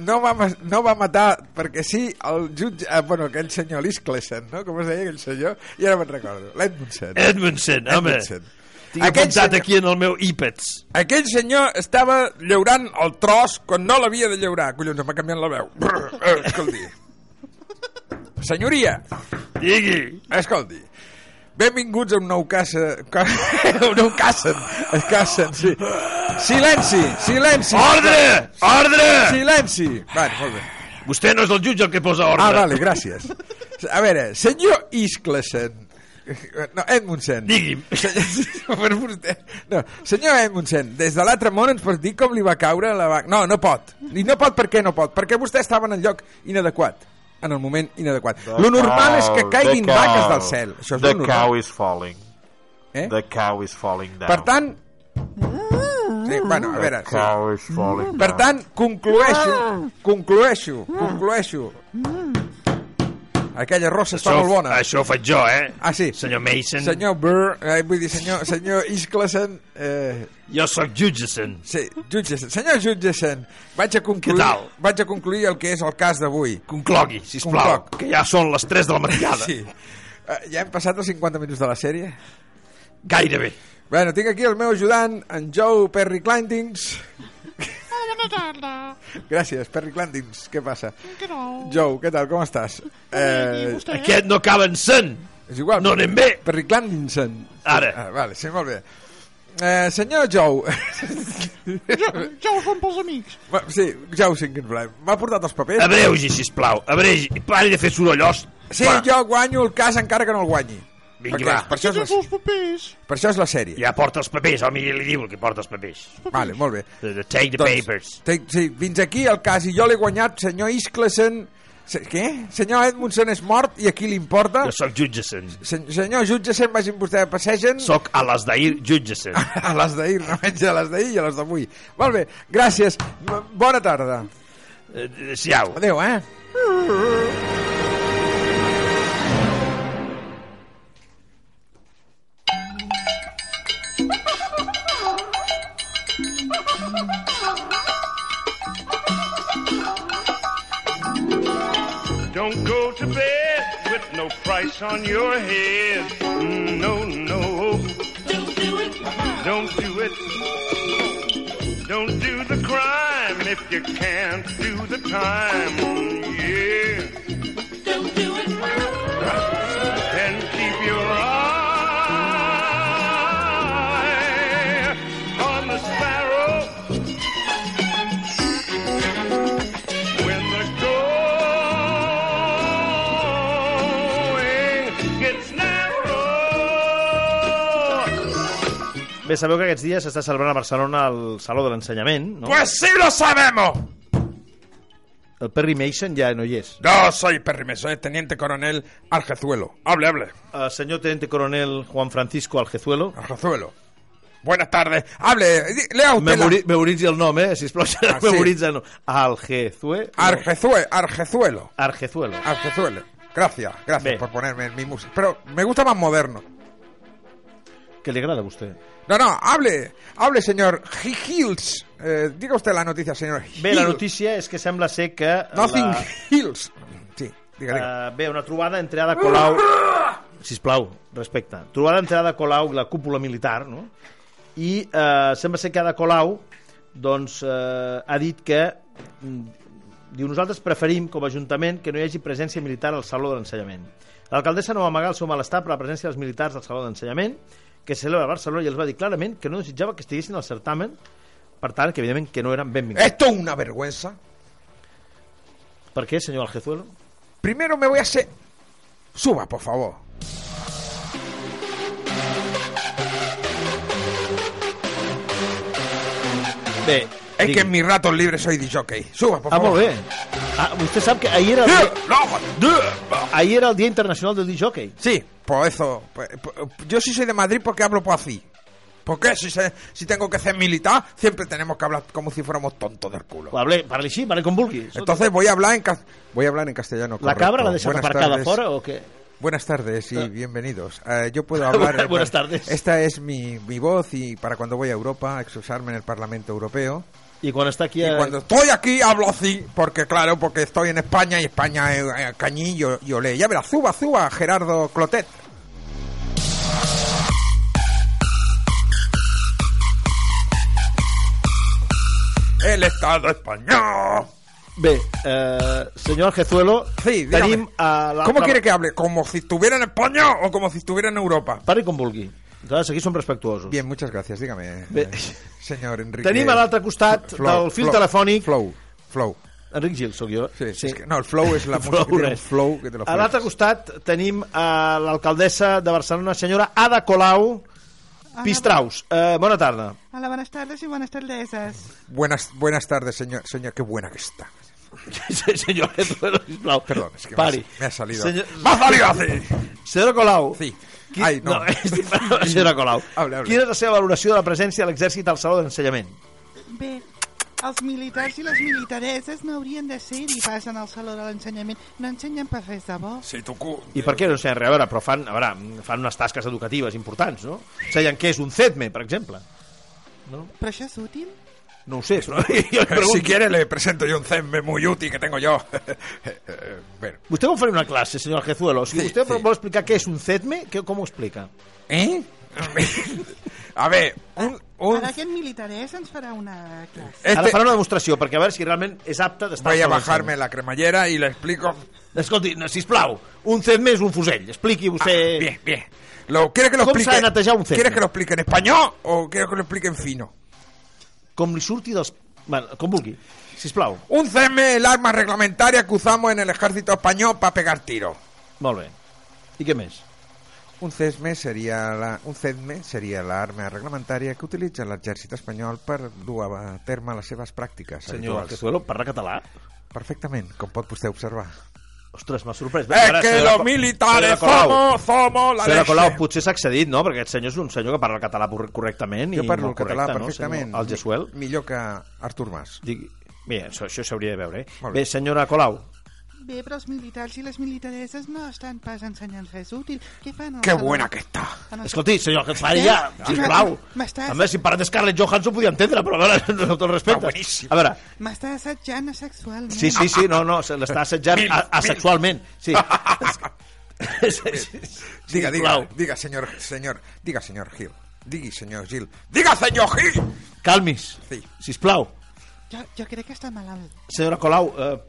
S1: no va, ma- no va matar, perquè sí, el jutge... Eh, bueno, aquell senyor l'Isclesen, no? Com es deia aquell senyor? I ara me'n recordo. L'Edmundson.
S3: Edmundson, Eh, home.
S1: Edmundson.
S3: Tinc
S1: Aquest
S3: apuntat
S1: senyor-
S3: aquí en el meu iPads.
S1: Aquell senyor estava llaurant el tros quan no l'havia de llaurar. Collons, em va canviant la veu. Brr, eh, escolti. Senyoria,
S3: Digui.
S1: Escolti, benvinguts a un nou caça... ca- un nou cacen. Es cacen, sí. Silenci, silenci.
S3: Ordre! Ordre!
S1: Silenci. Vale, molt bé.
S3: Vostè no és el jutge el que posa ordre.
S1: Ah, vale, gràcies. A veure, senyor Isclesen... No, Edmundsen.
S3: Digui'm.
S1: Senyor, per vostè. No, senyor Edmundsen, des de l'altre món ens pot dir com li va caure la vaca... No, no pot. I no pot perquè no pot. Perquè vostè estava en el lloc inadequat en el moment inadequat. Lo normal és que caiguin vaques del cel. Això és
S7: The
S1: lo normal.
S7: cow is falling.
S1: Eh?
S7: The cow is falling down.
S1: Per tant... Sí, bueno, a veure...
S7: The
S1: Sí.
S7: cow is falling
S1: Per
S7: down.
S1: tant, conclueixo, conclueixo, conclueixo. Aquella rossa està molt bona.
S3: Això ho faig jo, eh?
S1: Ah, sí.
S3: Senyor Mason.
S1: Senyor Burr, eh, vull dir, senyor, senyor Isclesen, eh,
S3: Jo sóc jutgeson.
S1: sí, Jutgesen, senyor Jutgesen, vaig a concluir,
S3: Què tal?
S1: vaig a concluir el que és el cas d'avui.
S3: Conclogui, sisplau,
S1: Concloc.
S3: que ja són les 3 de la matinada.
S1: Sí. Eh, ja hem passat els 50 minuts de la sèrie?
S3: Gairebé.
S1: Bueno, tinc aquí el meu ajudant, en Joe Perry Clintings.
S8: Bona tarda.
S1: Gràcies, Perry Clintings, què passa?
S8: Què no?
S1: Joe, què tal, com estàs? Eh,
S8: I vostè?
S3: Aquest no acaba en sen.
S1: és igual.
S3: No anem bé.
S1: Per Rick Landinson.
S3: Ara.
S1: Ah, vale, sí, molt bé. Eh, senyor Joe...
S8: Ja, ja ho fan pels amics.
S1: Va, sí, Joe Sinkenblad. M'ha portat els papers?
S3: Abreugi, sisplau. Abreugi. Pari de fer sorollós.
S1: Sí,
S3: Va,
S1: jo guanyo el cas encara que no el guanyi.
S3: Vinga,
S1: Perquè
S3: va.
S1: Per això, és
S8: Tens
S1: la,
S8: els papers.
S1: per això és la sèrie.
S3: Ja porta els papers, home, ja li diu el que porta els papers.
S1: Vale, molt bé. Doncs,
S3: The- the- "Eh, Take the papers.
S1: Te, sí, fins aquí el cas i jo l'he guanyat, senyor Isclesen... Se, què? Senyor Edmundson és mort i a qui li importa?
S3: Jo sóc jutgeson.
S1: Sen, senyor jutge, se'n vagin vostè a passegen...
S3: Sóc a les d'ahir jutgeson.
S1: a les d'ahir, no menys a les d'ahir i a les d'avui. Molt bé, gràcies. M- Bona tarda.
S3: Eh, Adéu-siau.
S1: Adéu, eh?
S9: Don't go to bed with no price on your head. Mm, No, no. Don't do it. Don't do it. you can't do the time. Mm, Yeah.
S10: Don't do it.
S9: and keep your eye on the sparrow. When the going gets narrow.
S3: Bé, sabeu que aquests dies s'està celebrant a Barcelona el Saló de l'Ensenyament, no?
S1: Pues sí lo sabemos.
S3: El Perry Mason ja no hi és.
S1: No soy Perry, soy teniente coronel Argezuelo. Hable, hable.
S3: El senyor Teniente Coronel Juan Francisco Algezuelo.
S1: Argezuelo. Buenas tardes. Hable. di- Lea usted. la-
S3: Memori memoritzi el nom, eh? Sisplau,
S1: Ah, sí.
S3: memoritza el nom. Algezue... no,
S1: Argezue, Argezuelo.
S3: Argezuelo.
S1: Argezuelo. Gracias, gracias
S3: Bien.
S1: por ponerme en mi música. Pero me gusta más moderno.
S3: Que li agrada a vostè?
S1: No, no, hable, hable, señor Hi- Hills. Eh, diga usted la noticia, señor
S3: Bé, la
S1: Hills.
S3: notícia és que sembla ser que...
S1: Nothing
S3: La,
S1: Hills. Sí, diga, diga.
S3: eh, bé, una trobada entre Ada Colau... Sisplau, respecte. Trobada entre Ada Colau i la cúpula militar, no? I eh, sembla ser que Ada Colau doncs, eh, ha dit que... mm, Diu, nosaltres preferim, com a Ajuntament, que no hi hagi presència militar al Saló de l'Ensenyament. L'alcaldessa no va amagar el seu malestar per la presència dels militars al Saló d'Ensenyament, que se celebra a Barcelona, i els va dir clarament que no desitjava que estiguessin al certamen, per tant, que evidentment que no eren benvinguts.
S1: Esto es una vergüenza.
S3: Per què, senyor Algezuelo?
S1: Primero me voy a hacer... Suba, por favor.
S3: Bé,
S1: Es
S3: digui.
S1: que en mis ratos libres soy de jockey. Suba, por
S3: Ah,
S1: favor.
S3: molt bé. Ah, vostè sap que ahir era,
S1: Eh,
S3: el,
S1: no, eh,
S3: ahir era el Dia Internacional del Disjockey.
S1: Sí, por eso. pues, pues, yo sí soy de Madrid porque hablo por así. ¿Por qué? Si, se- si tengo que ser militar, siempre tenemos que hablar como si fuéramos tontos del culo.
S3: Parle, parli així, parli com vulgui.
S1: Entonces voy a hablar en cas- voy a hablar en castellano.
S3: la
S1: correcto.
S3: cabra l'ha deixat
S1: Buenas
S3: aparcada
S1: tardes.
S3: fora o què?
S1: Buenas tardes y bienvenidos. Eh, yo puedo hablar.
S3: Buenas tardes.
S1: Esta es mi, mi voz y para cuando voy a Europa a excusarme en el Parlamento Europeo.
S3: I quan està aquí... eh,
S1: Y
S3: A...
S1: cuando estoy aquí hablo así, porque claro, porque estoy en España y España es eh, cañí y, y olé. Ya verás, suba, suba, Gerardo Clotet. El Estado español.
S3: Bé, eh, senyor Algezuelo,
S1: Sí, dígame.
S3: tenim a la...
S1: ¿Cómo quiere que hable? ¿Como si estuviera en España o como si estuviera en Europa?
S3: Parli com vulgui. Nosaltres aquí som respectuosos.
S1: Bien, muchas gracias, dígame,
S3: Bé.
S1: eh, señor Enrique.
S3: Tenim a l'altre costat
S1: Flow,
S3: del fil
S1: flow,
S3: telefònic...
S1: Flow, flow.
S3: Enric Gil, sóc jo.
S1: Sí, és que- no, el flow és la música que té un
S3: res.
S1: flow que te lo
S3: A l'altre costat tenim a l'alcaldessa de Barcelona, senyora Ada Colau Pistraus. Eh, bona tarda.
S10: Hola, buenas tardes y buenas tardesas.
S1: Buenas, buenas tardes, señor. Señor, qué buena que está.
S3: Senyor Lezuelo, sisplau.
S1: Perdón, es que me ha-
S3: Pari.
S1: me ha salido.
S3: Senyor...
S1: ¡Me ha salido así!
S3: Senyora Colau.
S1: Sí.
S3: Qui...
S1: Ai, no. eh,
S3: no. senyora Colau.
S1: Hable, hable.
S3: Quina és la seva valoració de la presència de l'exèrcit al Saló d'Ensenyament?
S10: Bé, els militars i les militareses no haurien de ser-hi, passen al Saló de l'Ensenyament. No ensenyen per res de bo.
S1: Sí, tu cu-
S3: I per què? No sé, res, a veure, però fan, a veure, fan unes tasques educatives importants, no? Seien què és un CEDME, per exemple.
S10: Però això és útil?
S3: No ho sé, però jo li
S1: Si
S3: pregunto.
S1: quiere le presento yo un cenme muy útil que tengo yo. Bueno.
S3: Vostè vol fer una classe, senyor Jezuelo. O sigui,
S1: Sí,
S3: vostè
S1: sí.
S3: vol explicar què és un CEDME? Què, com ho explica?
S1: ¿Eh? A ver, un... un-
S10: Ara aquest militarès ens farà una classe.
S3: Este... Ara
S1: este-
S3: farà una demostració, perquè a veure si realment és apte d'estar...
S1: Voy
S3: al
S1: a
S3: Saló
S1: bajarme la cremallera y le explico...
S3: d'Ensenyament. Escolti, no, sisplau, un CEDME és un fusell. Expliqui vostè...
S1: Ah, bien, bien. Lo, ¿Quieres que lo
S3: ¿Cómo
S1: explique?
S3: saben atallar un cenme?
S1: ¿Quieres que lo explique en español o quieres que lo explique en fino?
S3: Com li surti dels... Bueno, com vulgui. Sisplau.
S1: Un cenme es el arma reglamentaria que usamos en el ejército español para pegar tiros.
S3: Molt bé. I què més?
S1: Un CESME seria la, un CESME seria l'arma reglamentària que utilitza l'exèrcit espanyol per dur a terme les seves pràctiques
S3: Senyor
S1: habituals.
S3: Jezuelo, parla català?
S1: Perfectament, com pot vostè observar.
S3: Ostres, m'ha sorprès. Bé,
S1: Es
S3: ara,
S1: que
S3: senyora
S1: los
S3: Co-
S1: militares
S3: senyora Colau.
S1: somos, somos la
S3: Senyora
S1: leche.
S3: Colau, potser s'ha accedit, no? Perquè aquest senyor és un senyor que parla el català por- correctament
S1: Jo
S3: i
S1: parlo el
S3: molt
S1: català
S3: correcte,
S1: perfectament. Mm.
S3: No, senyor? El Jesuel.
S1: Mi- Millor que Artur Mas.
S3: Digui... Bé, això, això s'hauria de veure, eh?
S1: Molt
S3: Bé.
S1: bé.
S3: bé, senyora Colau,
S10: Bé, però els militars i les militareses no estan pas ensenyant res útil. Què fan? al
S1: Qué
S10: Saló? Ah,
S1: buena que está.
S10: En el-
S3: escolti, senyor, que pari
S10: Eh?
S3: ja,
S10: Sí,
S3: sisplau.
S10: m'estàs-
S3: A més, si parla de Scarlett Johansson, ho podia entendre, però a veure, no tot el respecte.
S1: bueníssim.
S3: A veure,
S10: M'està assetjant sexualment.
S3: sí, sí, sí, no, no, se l'està assetjant a, asexualment. Sí.
S1: Diga, diga,
S3: Colau.
S1: diga, señor, señor, diga, señor Gil. Digui, senyor Gil. Diga, senyor Gil!
S3: Calmis,
S1: Sí.
S3: sisplau.
S10: Jo, jo crec que està malalt.
S3: Senyora Colau, eh,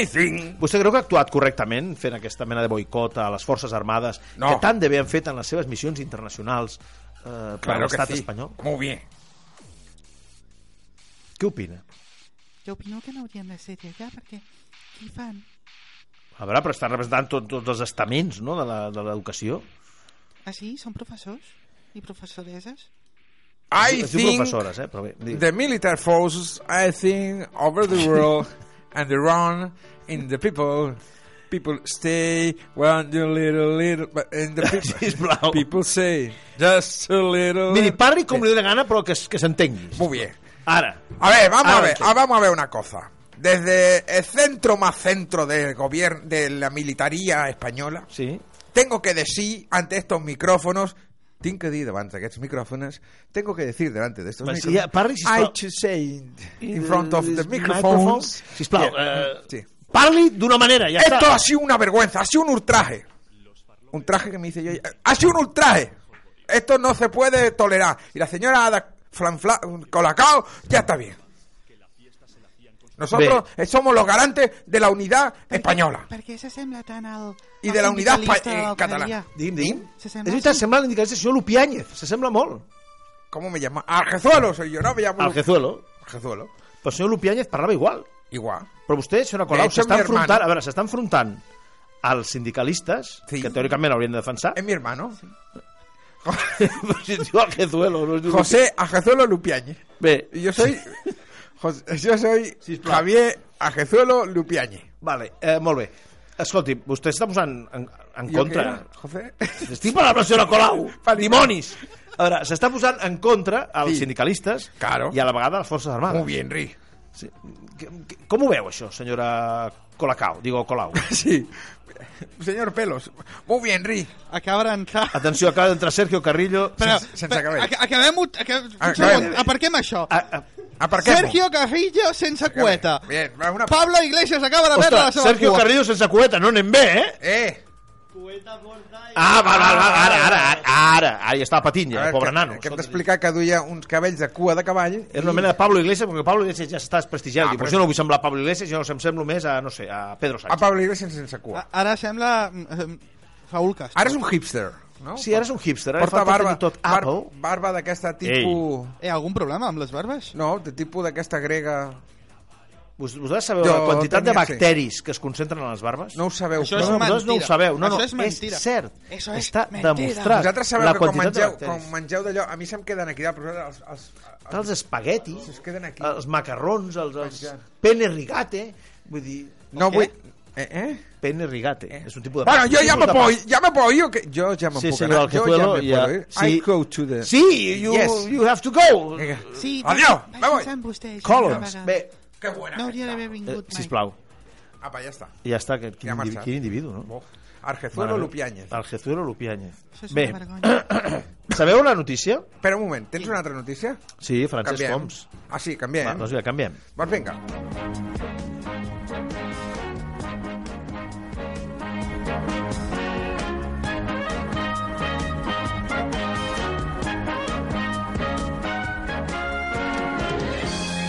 S1: I think...
S3: vostè creu que ha actuat correctament fent aquesta mena de boicot a les Forces Armades
S1: No.
S3: que tant de bé han fet en les seves missions internacionals eh, per
S1: Claro que
S3: l'estat
S1: sí.
S3: espanyol?
S1: Muy bien.
S3: Què opina?
S10: Jo opino que no haurien de ser allà perquè qui fan?
S3: A veure, però estan representant tot, tots els estaments no? de la- de l'educació.
S10: Ah, sí? Són professors? I professoreses?
S1: I
S3: Es diu
S1: think
S3: professores, eh? Però bé, digui.
S1: the military forces, I think, over the world and around in the people. People stay one little little, but in the people,
S3: Sisplau.
S1: people say just a little.
S3: Miri, parli com li dé gana, però que, es- que s'entengui.
S1: Muy bien.
S3: Ara,
S1: A ver, vamos a
S3: Ahora
S1: ver,
S3: entiendo.
S1: ah, vamos a ver una cosa. Desde el centro más centro del gobierno de la militaría española,
S3: sí.
S1: tengo que decir ante estos micrófonos, tengo que decir delante de estos micrófonos, tengo que decir delante de estos
S3: Pues sí, ja,
S1: micrófonos.
S3: parli, sisplau.
S1: I should say in front of the
S3: These
S1: microphones.
S3: Sisplau,
S1: Yeah.
S3: eh,
S1: Sí.
S3: parli d'una manera, ja
S1: Esto ha
S3: està.
S1: sido una vergüenza, ha sido un ultraje. Un traje que me dice yo. ¡Ha sido un ultraje! Esto no se puede tolerar. Y la señora Ada Flanfla, Colacao ya está bien. Nosotros eh, somos los garantes de la unidad española
S10: Per què s'assembla tant al...
S1: y
S10: al
S1: de la unidad espa-
S10: sindicalista
S1: eh, catalana.
S10: ucraïà?
S3: Digui'm, digui'm.
S10: Se
S3: És
S10: sembla
S3: veritat,
S10: així.
S3: sembla l'indicat del senyor Lupiáñez. Se sembla molt
S1: ¿Cómo me llama? Arjezuelo soy yo, no me llamo
S3: al Jezuelo.
S1: Arjezuelo.
S3: Però el senyor Lupiáñez parlava igual.
S1: Igual.
S3: Però vostè, senyora
S1: De
S3: Colau,
S1: hecho,
S3: s'està
S1: mi hermano-
S3: enfrontant... A veure, s'està enfrontant als sindicalistes,
S1: Sí.
S3: que teòricament haurien de defensar.
S1: Es mi hermano.
S3: Però si es diu al Jezuelo, no es diu...
S1: José Arjezuelo Lupiáñez.
S3: Bé,
S1: Y yo soy. José- yo soy Javier Arjezuelo Lupiáñez.
S3: vale, eh, molt bé. Escolti, vostè s'està posant en, en
S1: ¿Yo
S3: contra.
S1: qué era, José?
S3: Estic parlant amb la senyora Colau.
S1: Per
S3: Dimonis! A veure, s'està posant en contra als
S1: Sí.
S3: sindicalistes
S1: Claro.
S3: i a la vegada a les Forces Armades.
S1: Muy bien, Ri.
S3: Sí. Que- que- Com ho veu, això, senyora Colacau? Digo, Colau.
S1: Sí. Señor Pelos. Muy bien, Ri.
S4: Acaba d'entrar...
S3: Atenció, acaba d'entrar Sergio Carrillo.
S4: Però,
S1: sense- sense cabell. Ah,
S4: ac- Acabem... Acabem...
S1: Acabem.
S4: Un segon, aparquem això.
S3: Ah, ah,
S1: Aparquemos.
S4: Sergio Carrillo sense cueta.
S1: Bien, va, una...
S4: Pablo Iglesias acaba de perdre la
S3: ostres,
S4: seva
S3: Sergio
S4: cua.
S3: Carrillo sense cueta, no anem bé, eh?
S1: Eh.
S3: Ah, va, va, va, ara, ara, ara, ara, ara ja està patint, ja,
S1: A
S3: el
S1: veure,
S3: pobre
S1: que,
S3: nano.
S1: Que hem d'explicar que duia uns cabells de cua de cavall.
S3: És una mena de Pablo Iglesias, perquè Pablo Iglesias ja s'està desprestigiant.
S1: Ah,
S3: Ah,
S1: però- Ah,
S3: però... Jo no vull semblar a Pablo Iglesias, jo em semblo més a, no sé, a Pedro
S1: A
S3: Sánchez.
S1: Pablo Iglesias sense cua.
S4: A- Ara sembla... eh, Raúl Castro.
S1: Ara és un hipster, no?
S3: Sí, ara és un hipster, eh? ara
S1: Porta
S3: falta
S1: barba,
S3: tenir tot
S1: bar,
S3: Apple.
S1: barba d'aquesta tipus...
S4: Eh, algun problema amb les barbes?
S1: No, de tipus d'aquesta grega...
S3: Vos- Vosaltres sabeu
S1: Jo
S3: la quantitat de
S1: tenia, sí.
S3: bacteris que es concentren a les barbes?
S1: No ho sabeu.
S4: Això
S1: però-
S4: és
S3: vosaltres no ho
S4: mentira.
S3: sabeu. No, no,
S4: Això és mentira.
S3: cert.
S10: Eso es
S3: Està
S10: mentira.
S3: demostrat.
S1: Vosaltres sabeu
S3: la
S1: que quan
S3: quantitat de
S1: mengeu,
S3: bacteris.
S1: quan mengeu d'allò... A mi se'm queden aquí, però els, els, els,
S3: Els espaguetis,
S1: Es queden aquí.
S3: els macarrons, els, els
S1: Penjant.
S3: penne rigate, vull dir...
S1: No
S3: Què?
S1: vull... Eh, eh?
S3: Penne rigate, és un tipus de...
S1: Bueno, jo
S3: un
S1: ja
S3: tipus
S1: me
S3: de
S1: puedo,
S3: pasta.
S1: ya me puedo ir, ¿o qué? Yo ya me
S3: Sí,
S1: puedo
S3: señor
S1: ganar. Yo ya
S3: Alcazuelo,
S1: me
S3: ya.
S1: puedo ir.
S3: Sí.
S1: I go to the...
S3: Sí, you,
S1: Yes.
S3: you have to go.
S1: Vinga.
S10: Sí,
S1: Adiós,
S10: vaig
S1: me voy.
S10: pensar en vostè.
S3: Collins.
S10: Collins,
S3: Bé,
S1: Qué buena.
S10: No hauria d'haver
S3: eh,
S10: vingut mai.
S3: sisplau,
S1: Apa, ya está.
S3: ja està, que, quin,
S1: Ja ha
S3: individu,
S1: marxat.
S3: quin individu, no?
S1: Oh. Arjezuelo
S3: Mare-
S1: Lupiáñez.
S3: El Jezuelo Lupiáñez.
S10: Això és
S3: Bé,
S10: una vergonya.
S3: sabeu la notícia?
S1: Espera un moment, ¿tens una otra noticia?
S3: Sí, Francesc
S1: Canviem.
S3: Homs.
S1: Ah, sí, canviem.
S3: Va, doncs ja, canviem.
S1: Pues vinga.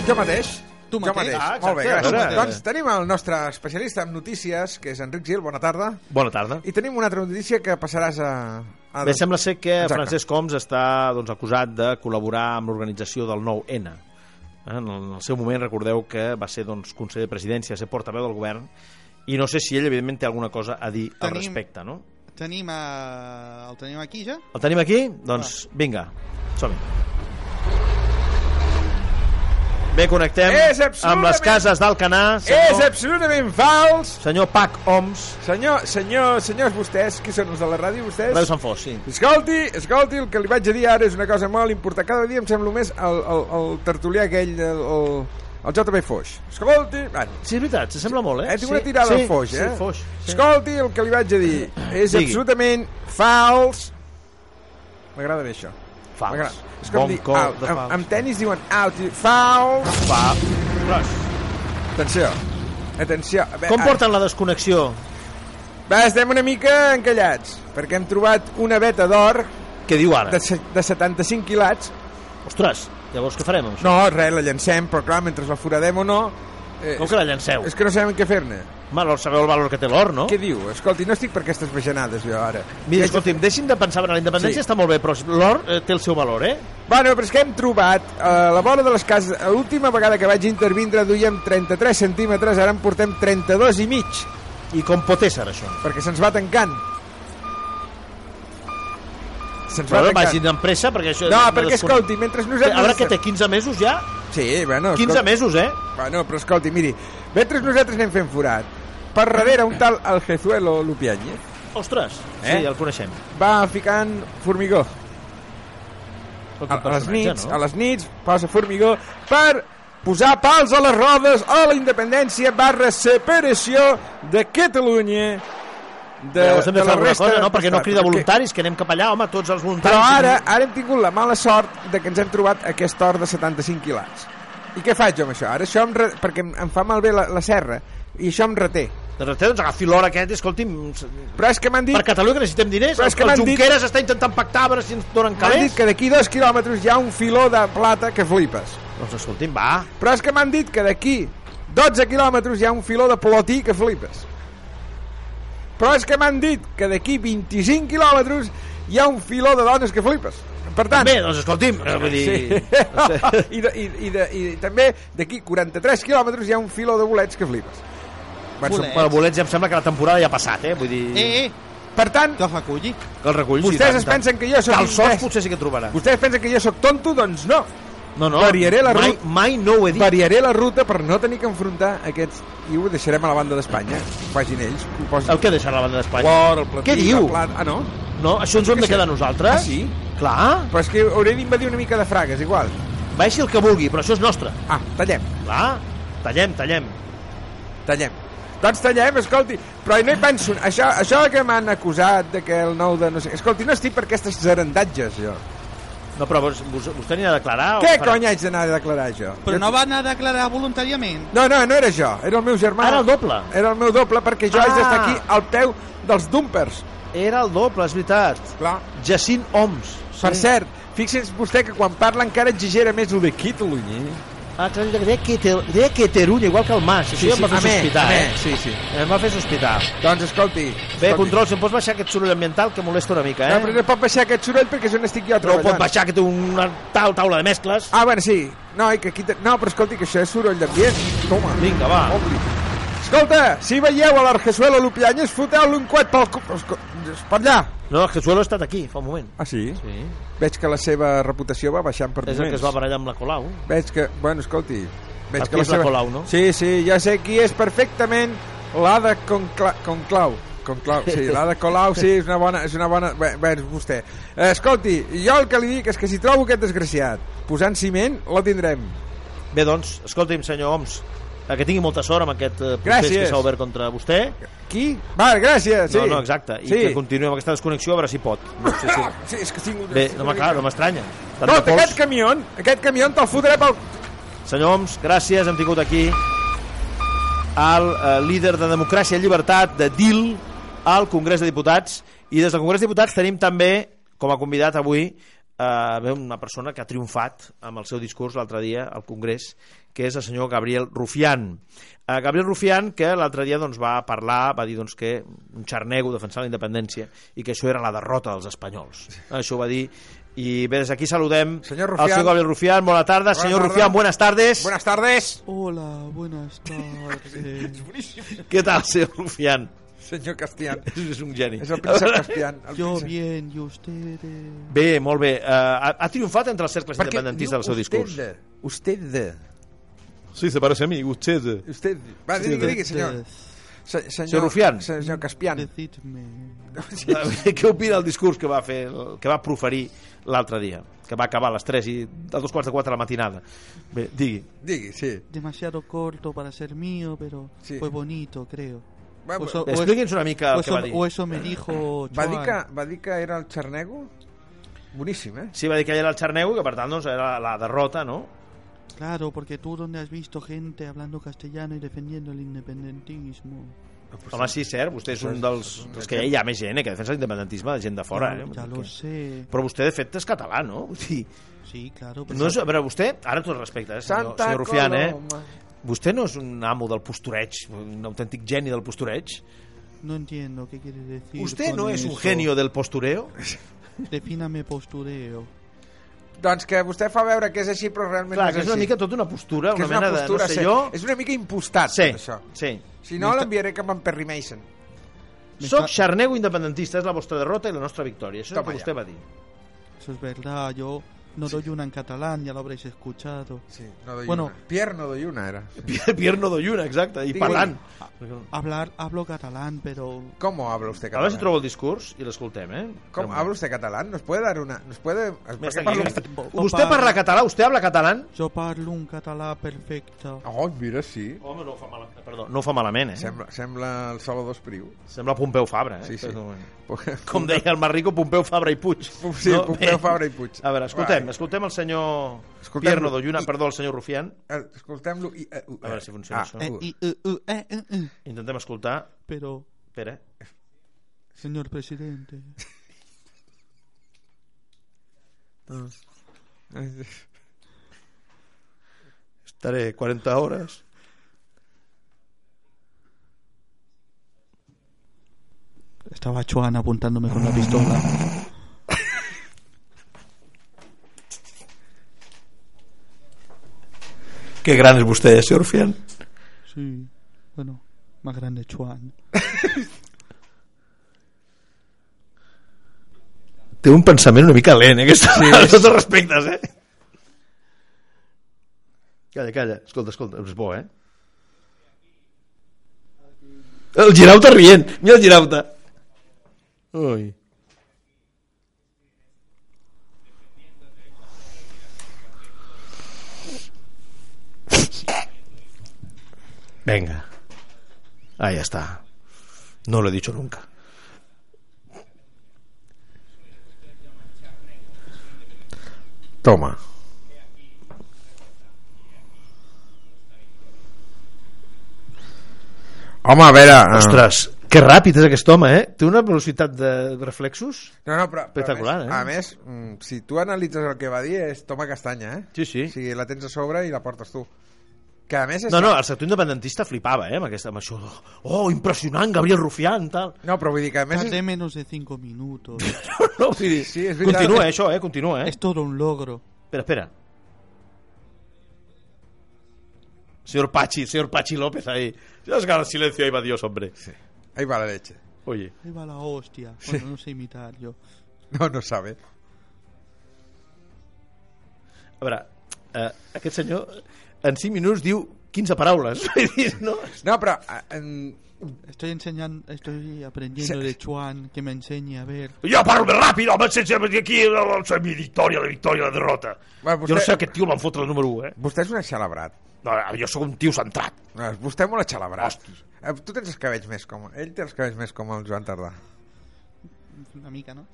S1: Jo mateix.
S4: Tu
S1: Jo mateix.
S4: mateix.
S3: Ah, exacte,
S1: Molt bé, gràcies.
S3: a veure.
S1: Doncs tenim el nostre especialista en notícies, que és Enric Gil. Bona tarda.
S3: Bona tarda.
S1: I tenim una altra notícia que passaràs a... a...
S3: Bé, sembla ser que
S1: Exacte.
S3: Exacte. Francesc Homs està doncs, acusat de col·laborar amb l'organització del 9-N. Eh, En el en el seu moment recordeu que va ser doncs, conseller de presidència, ser portaveu del govern, i no sé si ell, evidentment, té alguna cosa a dir al
S4: Tenim-
S3: respecte, no?
S4: Tenim a... El tenim aquí ja?
S3: El tenim aquí? Doncs
S1: Ah.
S3: vinga, som -hi. Bé, connectem
S1: És
S3: amb
S1: absolutament-
S3: les cases d'Alcanar.
S1: És
S3: Senyor,
S1: absolutament fals!
S3: senyor Pac Homs,
S1: Senyor, senyor, senyors vostès, qui són els de la ràdio, vostès?
S3: Reus Sant Fos, sí.
S1: Escolti, escolti, el que li vaig a dir ara és una cosa molt important. Cada dia em sembla més el, el, el tertulià aquell, el, el, el JB Foix. Escolti, bueno,
S3: Sí, és veritat, se sembla molt, eh?
S1: eh, tinc una tirada
S3: sí,
S1: al Foix, eh?
S3: Sí, Foix. Sí.
S1: Escolti, el que li vaig a dir és
S3: Digui.
S1: absolutament fals. M'agrada bé això.
S3: Fals.
S1: M'agrada. És com
S3: Bon
S1: dir, ah,
S3: cop
S1: out.
S3: de
S1: Amb,
S3: fals.
S1: amb tenis diuen out, i fals.
S3: Va. Gros.
S1: Atenció, atenció. A veure,
S3: Com porten la desconnexió?
S1: Va, estem una mica encallats, perquè hem trobat una veta d'or
S3: Què diu ara?
S1: de, se- de 75 quilats
S3: Ostres, Llavors, què farem? Amb això?
S1: No, res, la llancem, però clar, mentre la foradem o no... Eh,
S3: Com que la llanceu?
S1: És que no sabem què fer-ne.
S3: Mal, sabeu el valor que té l'or, no?
S1: Què diu? Escolti, no estic per aquestes bajanades, jo, ara.
S3: Mira, escolti'm, deixin de pensar en la independència,
S1: Sí.
S3: sí. està molt bé, però l'or eh, té el seu valor, eh?
S1: Bueno, però és que hem trobat eh, a la vora de les cases... eh, L'última vegada que vaig intervindre duíem 33 centímetres, ara en portem 32 i mig,
S3: I com pot ésser, això?
S1: perquè se'ns va tancant. Se'ns va
S3: Però no
S1: tancant.
S3: vagin amb pressa, perquè això...
S1: No,
S3: me
S1: perquè,
S3: descon-
S1: escolti, mentre nosaltres...
S3: A veure, que té 15 mesos ja?
S1: Sí, bueno...
S3: 15 mesos, eh?
S1: Bueno, però escolti, miri, mentre nosaltres anem fent forat, per darrere un tal Aljezuelo Lupiáñez
S3: Ostres,
S1: Eh?
S3: sí, el coneixem.
S1: va ficant formigó.
S3: Escolta,
S1: A, a les
S3: personatge,
S1: nits, a les nits, posa formigó per posar pals a les rodes a la independència barra separació de Catalunya de,
S3: Llavors hem de fer alguna cosa, no?
S1: de
S3: Perquè no
S1: l'estat,
S3: crida
S1: perquè-
S3: voluntaris, que anem cap allà, home, tots els voluntaris...
S1: Però ara, ara hem tingut la mala sort de que ens hem trobat aquest or de 75 quilats. I què faig jo amb això? Ara això em re... perquè em, em fa malbé la, la serra i això em reté.
S3: Doncs, doncs agafi l'or aquest, escolti'm... s-
S1: Però és que m'han
S3: Per
S1: dit,
S3: Catalunya necessitem diners,
S1: Però és
S3: el,
S1: que
S3: el
S1: m'han dit-
S3: Junqueras està intentant pactar a veure si ens donen
S1: m'han
S3: calés.
S1: dit que d'aquí dos quilòmetres hi ha un filó de plata que flipes.
S3: Doncs escolti'm, va,
S1: Però és que m'han dit que d'aquí 12 quilòmetres hi ha un filó de plotí que flipes. Però és que m'han dit que d'aquí 25 quilòmetres hi ha un filó de dones que flipes. Per tant...
S3: Bé, doncs escolti'm, eh, vull dir...
S1: Sí. I, de, i, i, de, I també d'aquí 43 quilòmetres hi ha un filó de bolets que flipes. Bueno,
S4: Bolets.
S3: Bueno, bolets ja em sembla que la temporada ja ha passat, eh? Vull dir...
S4: Eh, eh,
S1: Per tant,
S4: que fa culli.
S3: Que el reculls...
S1: Vostès es pensen que jo sóc
S3: Calçots
S1: imbècil.
S3: potser sí que trobarà.
S1: vostès pensen que jo sóc tonto? Doncs no.
S3: No, no,
S1: variaré la
S3: mai,
S1: ruta.
S3: mai no ho he dit.
S1: Variaré la ruta per no tenir que enfrontar aquests... I ho deixarem a la banda d'Espanya. Ho facin ells. Ho posin...
S3: El que deixarà la banda d'Espanya?
S1: L'or, el platí,
S3: Què diu?
S1: La plata... Ah, no?
S3: No, això ens ho hem de quedar nosaltres?
S1: Ah, sí?
S3: Clar,
S1: Però és que hauré d'invadir una mica de fragues, igual.
S3: baixi el que vulgui, però això és nostre.
S1: Ah, tallem,
S3: Clar, tallem, tallem.
S1: tallem. Doncs tallem, escolti, però no hi penso... Això, això que m'han acusat de que el nou de... No sé, escolti, no estic per aquestes zarandatges, jo.
S3: No, però vos, vos, vostè anirà a declarar... o
S1: Què
S3: farà?
S1: cony haig d'anar a declarar, jo?
S4: Però
S1: Jo-
S4: no va anar a declarar voluntàriament.
S1: No, no, no era jo, era el meu germà.
S3: Era el doble.
S1: Era el meu doble, perquè jo
S3: Ah.
S1: haig d'estar aquí al peu dels dumpers.
S3: Era el doble, és veritat.
S1: Clar.
S3: Jacint Oms.
S1: Sí. Per cert, fixi's vostè que quan parla encara exigera més el de Catalunya.
S3: Ah, clar, deia que, deia que Terull, igual que el Mas. Això sí, em va fer
S1: amè,
S3: sospitar,
S1: amè,
S3: eh?
S1: Sí, sí.
S3: Em va fer sospitar.
S1: Doncs escolti...
S3: Bé,
S1: escolti.
S3: control, si em pots baixar aquest soroll ambiental que molesta una mica,
S1: No, però
S3: eh?
S1: no pot baixar aquest soroll perquè és on estic jo
S3: No
S1: treballant.
S3: pot baixar, que té una tau- taula de mescles.
S1: Ah, bueno, sí. No, i que aquí... Te... No, però escolti, que això és soroll d'ambient. Toma.
S3: Vinga, va.
S1: Obri. Escolta, si veieu a l'Arjesuelo Lupianyes, foteu-li un coet pel... cu- Esco- Per allà.
S3: No, el Jesuelo ha estat aquí, fa un moment.
S1: Ah, sí?
S3: Sí.
S1: Veig que la seva reputació va baixant per
S3: És el que es va barallar amb la Colau.
S1: Veig que... Bueno, escolti... Veig
S3: Aquí és la Colau, no?
S1: Sí, sí, ja sé qui és perfectament la de Concla... Conclau. Conclau, sí, la de Colau, sí, és una bona... És una bona... Bé, bé, és vostè. Eh, Escolti, jo el que li dic és que si trobo aquest desgraciat posant ciment, la tindrem.
S3: Bé, doncs, escolti'm, senyor Oms, eh, que tingui molta sort amb aquest eh, procés
S1: Gràcies.
S3: que s'ha obert contra vostè.
S1: Qui? Va, gràcies, sí.
S3: No, no, exacte. I
S1: sí.
S3: que continuï amb aquesta desconnexió a veure si pot. No sé si...
S1: Sí, és que tinc... un-
S3: Bé, no, home, clar, no m'estranya. Tant
S1: Escolta,
S3: de pols.
S1: aquest camió, aquest camió te'l fotré pel...
S3: Senyor Oms, gràcies, hem tingut aquí el eh, líder de Democràcia i Llibertat de DIL al Congrés de Diputats i des del Congrés de Diputats tenim també com a convidat avui eh, bé, una persona que ha triomfat amb el seu discurs l'altre dia al Congrés que és el senyor Gabriel Rufián eh, Gabriel Rufián que l'altre dia doncs, va parlar, va dir doncs, que un xarnego defensant la independència i que això era la derrota dels espanyols això ho va dir i bé, des d'aquí saludem
S1: Senyor
S3: el
S1: Rufián.
S3: senyor Gabriel Rufián, bona tarda
S1: Bona
S3: senyor
S1: tarda.
S3: Rufián, buenas tardes
S1: Buenas tardes.
S4: Hola, buenas tardes.
S3: Què tal, senyor Rufián?
S1: Senyor Castián.
S3: És un geni.
S1: És el príncep Castián. el
S4: Yo
S1: príncep.
S4: bien, y ustedes...
S3: Bé, molt bé. Uh, ha, ha triomfat entre els cercles
S1: Perquè
S3: independentistes del seu discurs.
S1: Usted, usted,
S6: Sí, se parece a mí, usted.
S1: usted. Va, digui, digui, senyor. Se,
S3: Senyor Rufián.
S1: se- Senyor Caspian.
S4: Decidme.
S3: Eh, Què opina el discurs que va fer, el que va proferir l'altre dia? Que va acabar a les 3 i a dos quarts de 4 de la matinada. Bé, digui.
S1: Digui, sí.
S4: Demasiado corto para ser mío, pero
S1: Sí.
S4: fue bonito, creo.
S1: Va, pues,
S4: O eso-
S1: va,
S4: o es-
S3: Expliqui'ns una mica
S4: o
S3: el que va
S4: eso,
S3: dir.
S4: o eso me dijo
S1: va,
S4: Joan.
S1: dir que, va dir que era el xarnego? Boníssim, eh?
S3: Sí, va dir que ell era el xarneu i que per tant doncs, era la derrota, no?
S4: Claro, porque tú donde has visto gente hablando castellano y defendiendo el independentismo.
S3: Home, sí, cert, vostè és un dels... És que ja hi ha més gent eh, que defensa l'independentisme de gent de fora. Eh?
S4: Ya, ya lo sé.
S3: Però vostè, de fet, és català, no? Vull dir,
S4: Sí, claro.
S3: no és, a veure, vostè, ara tot respecte, eh, senyor,
S1: Santa
S3: senyor Rufián, eh?
S1: Coloma.
S3: Vostè no és un amo del postureig, un autèntic geni del postureig?
S4: No entiendo qué quiere decir.
S3: Vostè
S4: con
S3: no és un
S4: eso.
S3: genio del postureo?
S4: Defíname postureo.
S1: Doncs que vostè fa veure que és així, però realment
S3: Clar,
S1: no
S3: que és una mica tot una postura,
S1: que
S3: una,
S1: és una
S3: mena
S1: postura,
S3: de...
S1: sí.
S3: No sé
S1: És una mica impostat,
S3: jo...
S1: tot això.
S3: Sí, sí.
S1: Si no, l'enviaré cap a en Perry Mason.
S3: Soc xarnego independentista, és la vostra derrota i la nostra victòria. Això és el
S1: Toma
S3: que
S1: ja.
S3: vostè va dir.
S4: Eso es verdad. Yo no doy una en catalán, ya lo habréis escuchado.
S1: Sí, no doy
S4: Bueno.
S1: una. Pierre no doy una, era.
S3: Pierno de lluna, exacte, i
S1: Digui.
S3: parlant.
S1: Ah,
S4: Hablar, hablo catalán, pero
S1: Com habla usted
S3: A
S1: catalán?
S3: veure si trobo el discurs i l'escoltem, eh?
S1: Com habla usted catalán? ¿Nos puede dar una? ¿Nos puede...? ¿Por qué
S3: Mira,
S1: parla
S3: aquí.
S1: usted?
S3: Vostè parla català? Vostè habla català?
S4: yo parlo un catalán perfecto.
S1: Oh, mira, sí.
S3: Home, no ho fa malament. Perdó, no ho fa malament, eh? Sembla,
S1: Sembla, sembla el Salvador Espriu.
S3: Sembla Pompeu Fabra, eh?
S1: Sí, sí.
S3: Com deia el Marrico, Pompeu Fabra i Puig.
S1: Sí, Pompeu Fabra i Puig.
S3: A veure, escoltem,
S1: Va.
S3: escoltem el senyor
S1: Escoltem-lo.
S3: Pierno de Lluna, perdó, el senyor Rufián.
S1: Eh, Escoltem-lo i... eh,
S3: A veure si funciona això.
S4: Eh, y, eh, eh, eh, eh, eh.
S3: Intentem escoltar...
S4: Pero,
S3: Espera.
S4: señor presidente,
S3: Estaré 40 hores.
S4: estaba Chuan apuntándome con la pistola.
S3: Que gran és vostè, eh, senyor Rufián.
S4: Sí, bueno, más grande Chuan.
S3: Té un pensament una mica lent, eh, aquesta. Sí, amb tots els respectes, eh? Calla, calla. Escolta, escolta, és bo, eh? El girauta rient. Mira el girauta. Ui. Venga. Ahí está. No lo he dicho nunca.
S1: Toma. Home, a veure...
S3: Ah.
S1: eh,
S3: Ostres, que ràpid és aquest home, eh? Té una velocitat de reflexos?
S1: No, no, però, però
S3: Espectacular,
S1: a més, eh? A més, mm, si tu analitzes el que va dir, és toma castanya, eh?
S3: Sí, sí.
S1: O sigui, la tens a sobre i la portes tu. Que a més és...
S3: No, no, el sector independentista flipava, eh, amb, aquesta, amb això. Oh, impressionant, Gabriel Rufián, tal.
S1: No, però vull dir que a més...
S4: Tardé
S1: És...
S4: menos de cinco minutos.
S3: No, vull dir,
S1: Sí, és veritat.
S3: continua, eh, això, eh, continua, eh.
S4: Es todo un logro.
S3: Espera, espera. Señor Pachi, señor Pachi López ahí. Ya es el silencio, ahí va Dios, hombre.
S1: Ahí va la leche.
S3: Oye,
S4: Ahí va la hostia. Bueno, no sé imitar yo.
S1: No, no sabe.
S3: a veure, eh, aquest senyor en 5 minuts diu 15 paraules. Vull dir, no?
S1: No, però... eh, em,
S4: Estoy enseñando, estoy aprendiendo
S1: Se-
S4: de Chuan que me enseñe a ver.
S3: Jo parlo més ràpid, home, sense aquí eh, la, la, la victòria, la victòria, la derrota.
S1: Bueno,
S3: Jo no
S1: vostè-
S3: sé aquest tio el van fotre el número 1, eh?
S1: Vostè és un aixalabrat.
S3: No, jo sóc un tio centrat.
S1: No, Vostè és molt aixalabrat.
S3: Hosti.
S1: Eh, Tu tens els cabells més com... Ell té els cabells més com el Joan Tardà.
S4: Una mica, ¿no?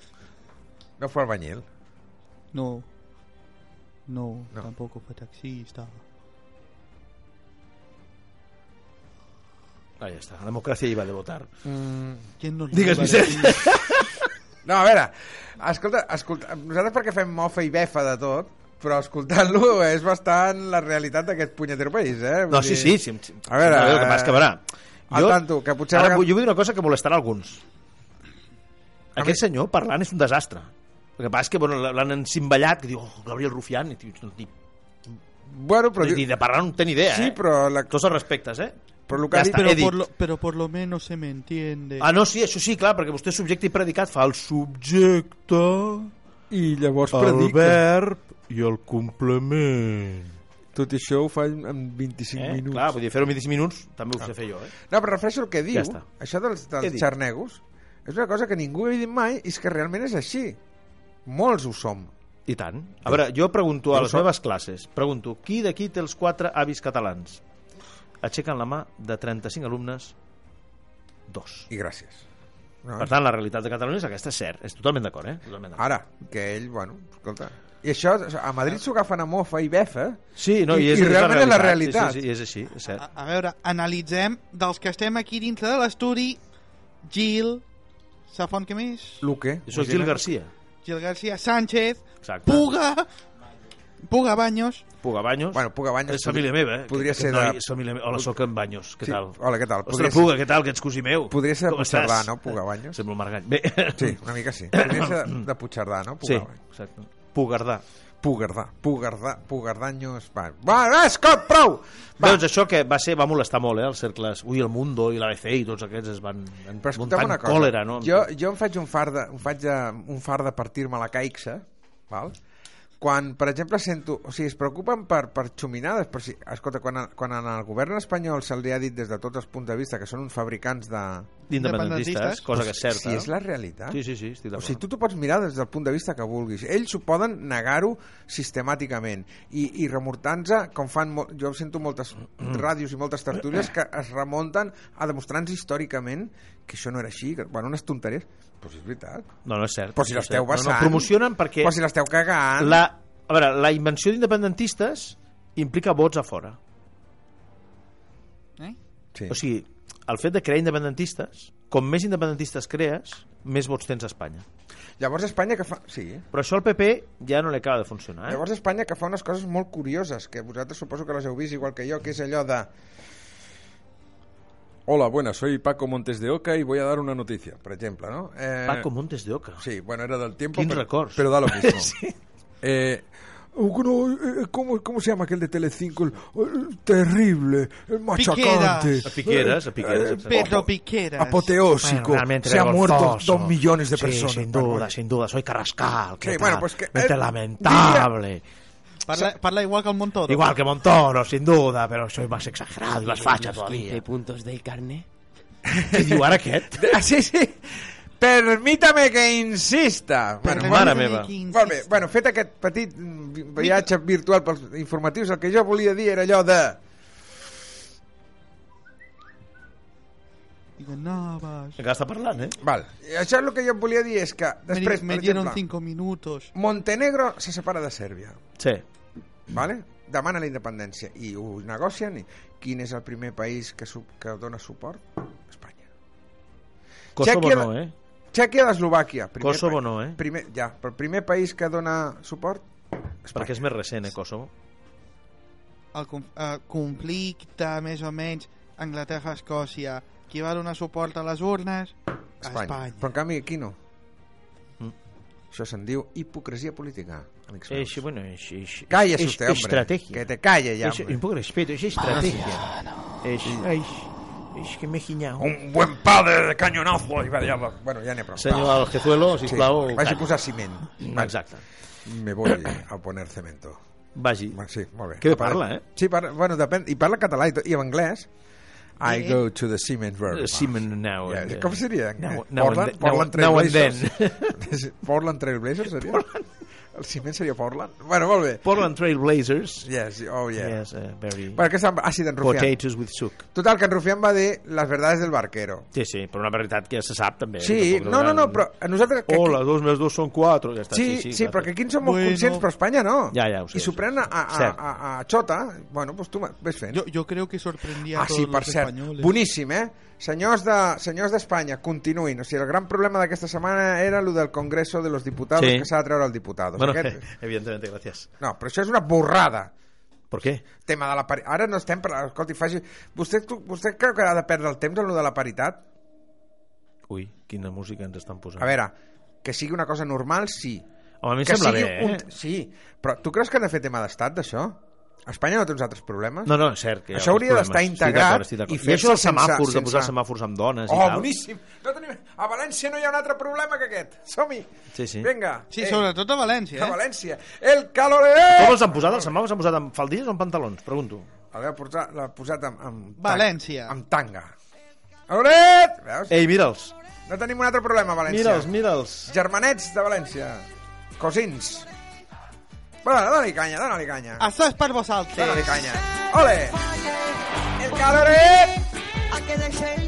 S1: No fue albañil.
S4: No. No,
S1: No.
S4: tampoco fue taxista.
S3: Ah, ja està, la democràcia hi va de votar.
S4: ¿Quién nos lo
S3: Digues,
S4: iba a
S3: Vicenç.
S4: decir?
S1: No, a veure, escolta, escolta, nosaltres perquè fem mofa i befa de tot, però escoltant-lo és bastant la realitat d'aquest punyetero país, eh? Vull
S3: No, sí,
S1: dir-
S3: sí, sí, sí
S1: A veure,
S3: el que passa és que, a veure,
S1: al tanto, que potser
S3: Ara,
S1: a vegades-
S3: jo vull dir una cosa que molestarà alguns. Aquest senyor parlant és un desastre. El que passa és que bueno, l'han encimballat, que diu, oh, Gabriel Rufián, i tio, no, ni,
S1: Bueno, però...
S3: ni, ni
S1: Diu,
S3: de parlar no en té ni idea,
S1: sí,
S3: eh?
S1: però... La,
S3: Tots els respectes, eh?
S1: però el que
S3: Ja
S1: ha dit...
S3: està.
S4: pero,
S3: he dit.
S4: por lo, pero por lo menos se me entiende.
S3: Ah, no, sí, això sí, clar, perquè vostè és subjecte i predicat, fa el subjecte,
S1: I llavors
S6: El verb i el complement.
S1: Tot això ho fa en 25
S3: eh? Clar, vull dir, fer-ho en 20 minuts també ho sé fer jo, eh?
S1: No, però refereixo el que diu,
S3: està.
S1: això dels,
S3: Què
S1: dels
S3: diu?
S1: xarnegos, és una cosa que ningú ha dit mai i és que realment és així. Molts ho som.
S3: I tant. A veure, jo pregunto a
S1: Jo
S3: les
S1: sóc-
S3: meves classes, pregunto, qui d'aquí té els quatre avis catalans? Aixequen la mà de 35 alumnes, dos.
S1: I gràcies. No,
S3: Per tant, la realitat de Catalunya és aquesta, és cert. És totalment d'acord, eh? Totalment d'acord.
S1: Ara, que ell, bueno, escolta...
S5: I això, a Madrid s'ho agafen a mofa i befa.
S3: Ah, Sí, no, i,
S5: I,
S3: és,
S5: i realment és la realitat.
S3: Sí, sí, sí, és així, és cert.
S4: A, a veure, analitzem dels que estem aquí dintre de l'estudi Gil, Safon, què més?
S5: Luque.
S3: Jo soc Gil Garcia.
S4: Gil García Sánchez,
S3: Exacte.
S4: Puga, Puga Baños,
S3: Puga Banyos.
S5: Bueno, Puga Banyos
S3: és família meva, eh?
S5: podria
S3: Aquest
S5: ser
S3: noi
S5: de-
S3: És família meva. Hola, sóc en Banyos. Què
S5: Sí,
S3: tal?
S5: hola, què tal? Podria
S3: Ostres,
S5: ser-
S3: Puga, què tal? Que ets cosí meu.
S5: Podria ser de
S3: Com estàs?
S5: Puigcerdà, no, Puga Banyos?
S3: Sembla un margall. Bé.
S5: Sí, una mica sí. Podria ser de, de Puigcerdà, no?
S3: Sí,
S5: Puga-
S3: exacte. Pugardà.
S5: Pugardà, Pugardà, Pugardanyos... Va, va, va Scott, prou!
S3: Va. Doncs això que va ser, va molestar molt, eh, els cercles. Ui, el Mundo i l'ABC i tots aquests es van en,
S5: Però escolta'm
S3: muntant
S5: una cosa.
S3: còlera, no?
S5: Jo, jo em faig un far de, em faig eh, un far de partir-me la caixa, val? quan, per exemple, sento... O sigui, es preocupen per, per xuminades, però si, escolta, quan, a- quan en el govern espanyol se li ha dit des de tots els punts de vista que són uns fabricants de...
S3: D'independentistes,
S4: independentistes.
S3: cosa que és certa.
S5: si és la realitat.
S3: eh? Sí, sí, sí, estic
S5: O
S3: d'acord.
S5: sigui, tu t'ho pots mirar des del punt de vista que vulguis. Ells ho poden negar-ho sistemàticament i, i remortant-se, com fan... Mo jo sento moltes
S3: Mm.
S5: ràdios i moltes tertúlies que es remunten a demostrar-nos històricament que això no era així, que, bueno, unes tonteries. Però si és veritat.
S3: No, no és cert.
S5: Però si
S3: no és
S5: l'esteu
S3: cert.
S5: basant...
S3: No, no, promocionen perquè
S5: Però si l'esteu cagant...
S3: la, a veure, la invenció d'independentistes implica vots a fora.
S5: Sí.
S3: O sigui, el fet de crear independentistes, com més independentistes crees, més vots tens a Espanya.
S5: Llavors Espanya que fa... Sí,
S3: Però això al PP ja no li acaba de funcionar. Eh?
S5: Llavors Espanya que fa unes coses molt curioses, que vosaltres suposo que les heu vist igual que jo, que és allò de... Hola, buenas, soy Paco Montes de Oca y voy a dar una noticia, por ejemplo, ¿no? Eh,
S3: Paco Montes de Oca.
S5: Sí, bueno, era del tiempo.
S3: Quins
S5: pero,
S3: records.
S5: Pero da lo mismo. Eh, uno, eh, ¿cómo, ¿Cómo se llama aquel de Telecinco? El, el terrible, el machacante.
S3: A Piqueras, a Piqueras.
S5: Eh,
S3: exacte.
S4: Pedro Piqueras.
S5: Apoteósico.
S3: realmente
S5: se ha muerto
S3: vergonzoso.
S5: dos millones de
S3: Sí,
S5: personas.
S3: sin
S5: Bueno,
S3: duda, sin duda. Soy Carrascal. ¿qué
S5: Sí,
S3: tal?
S5: bueno, pues que-
S3: Vete
S5: eh,
S3: lamentable.
S4: Parla, parla igual que el Montoro.
S3: Igual que Montoro, sin duda, pero soy más exagerado y más facha todavía.
S1: puntos del carnet?
S3: Què diu ara aquest?
S5: Ah, sí, sí. Permítame que insista. Bueno,
S4: Parla
S3: mare
S4: de
S3: meva.
S4: qui insiste.
S5: Molt bé, bueno, fet aquest petit mm, vi- viatge virtual pels informatius, el que jo volia dir era allò de...
S4: Digo, no, vas.
S3: Encara està parlant, eh?
S5: Val, i això és el que jo volia dir és que
S4: Me,
S5: després,
S4: me
S5: per
S4: dieron
S5: exemple,
S4: cinco minutos.
S5: Montenegro se separa de Sèrbia,
S3: Sí.
S5: vale? demana la independència i ho negocien i quin és el primer país que, su que dona suport? Espanya.
S3: Kosovo
S5: Txèquia-
S3: no, eh?
S5: Txèquia d'Eslovàquia. primer
S3: Kosovo
S5: país-
S3: no, eh?
S5: Primer, ja, però el primer país que dona suport? Espanya.
S3: Perquè és més recent, eh, Kosovo?
S4: El conf eh, conflicte, més o menys, Anglaterra-Escòcia. Qui va donar suport a les urnes?
S5: Espanya.
S4: Espanya.
S5: Però en canvi aquí no.
S3: Mm.
S5: Això se'n diu hipocresia política, amics meus.
S3: Eixe, bueno, eixe, eixe.
S5: Cállese
S3: eixe
S5: usted, hombre.
S3: Estratègia.
S5: Que te calle ya,
S3: Eixe-
S5: hombre.
S3: un poc de respeto, eixe estratègia. Eixe, eixe, eixe, que m'he ginyat.
S5: Un buen padre de cañonazo. iba a dir algo. Bueno, ja n'hi ha prou.
S3: Senyor Algezuelo, sisplau,
S5: Vaig a
S3: calla.
S5: posar ciment.
S3: Exacte.
S5: Me voy a poner cemento.
S3: Vagi.
S5: Bueno, sí, molt bé.
S3: Que bé parla, eh?
S5: Sí, parla, bueno, depèn. I parla català i, tot, i en anglès. I go to the cement river.
S3: Simon Eh, now.
S5: Yeah,
S3: and-
S5: com seria? en
S3: Now-
S5: anglès?
S3: now and
S5: Portland,
S3: then-
S5: Portland
S3: now and
S5: Trailblazers. Portland Trailblazers seria? El ciment seria Portland? Bueno, molt bé.
S3: Portland Trail Blazers.
S5: Yes, oh yeah.
S3: Yes, uh, very...
S5: Bueno, aquesta... Ah, sí, d'en Rufián.
S3: Potatoes with soup.
S5: Total, que en Rufián va dir les verdades del barquero.
S3: Sí, sí, però una veritat Eh, que ja se sap, també.
S5: Sí,
S3: Tampoc
S5: no, no, no, però a nosaltres... que-
S3: Hola, dos més dos són quatre. Ja està,
S5: Sí, sí, sí
S3: clar.
S5: perquè aquí en som molt
S4: Bueno.
S5: conscients, però Espanya no.
S3: Ja, ja, ho sé,
S5: I s'ho
S3: ho sé,
S5: pren
S3: ho
S5: a,
S3: sé.
S5: a, a,
S3: Cert.
S5: a, a xota. Bueno, doncs tu ma- ves fent.
S4: Yo, yo creo que sorprendía
S5: ah,
S4: a todos
S5: sí, per
S4: los
S5: cert.
S4: españoles.
S5: Boníssim, eh? Senyors de- senyors d'Espanya, de, continuïn. O sigui, el gran problema d'aquesta setmana era el del Congreso de los Diputados,
S3: Sí.
S5: que s'ha de treure el diputat.
S3: Bueno,
S5: Aquest...
S3: evidentment, gràcies.
S5: No, però això és una borrada.
S3: Per què?
S5: Tema de la paritat. Ara no estem... Per... Escolti, faci... Vostè, tu- vostè creu que ha de perdre el temps en lo de la paritat?
S3: Ui, quina música ens estan posant.
S5: A veure, que sigui una cosa normal, sí.
S3: Home, a mi em
S5: Que
S3: sembla
S5: sigui
S3: bé, eh?
S5: un... Sí, però tu creus que han de fer tema d'estat, d'això? Espanya no té uns altres problemes?
S3: No, no, és cert. Que hi ha
S5: Això hauria
S3: altres
S5: d'estar
S3: problemes.
S5: integrat
S3: Estic d'acord,
S5: i
S3: estic d'acord. I, això dels
S5: fer-se sense-
S3: semàfors, de posar
S5: sense-
S3: semàfors amb dones
S5: Oh,
S3: i tal.
S5: boníssim! No tenim... A València no hi ha un altre problema que aquest. Som-hi!
S3: Sí, sí.
S5: Vinga!
S4: Sí,
S5: Eh,
S4: sobretot a València,
S5: A
S4: eh?
S5: València. El caloré!
S3: Com els han posat, els semàfors? Han posat amb faldilles o amb pantalons? Pregunto.
S5: L'ha posat, l'ha posat amb, amb... tang-
S4: València.
S5: Amb tanga. Caloret! Veus?
S3: Ei, mira'ls.
S5: No tenim un altre problema, a València.
S3: Mira'ls, mira'ls.
S5: Germanets de València. Cosins. Va, dona-li canya, dona-li canya.
S4: Això és per vosaltres.
S5: Dona-li canya. Ole! El caloret!
S10: A que deixem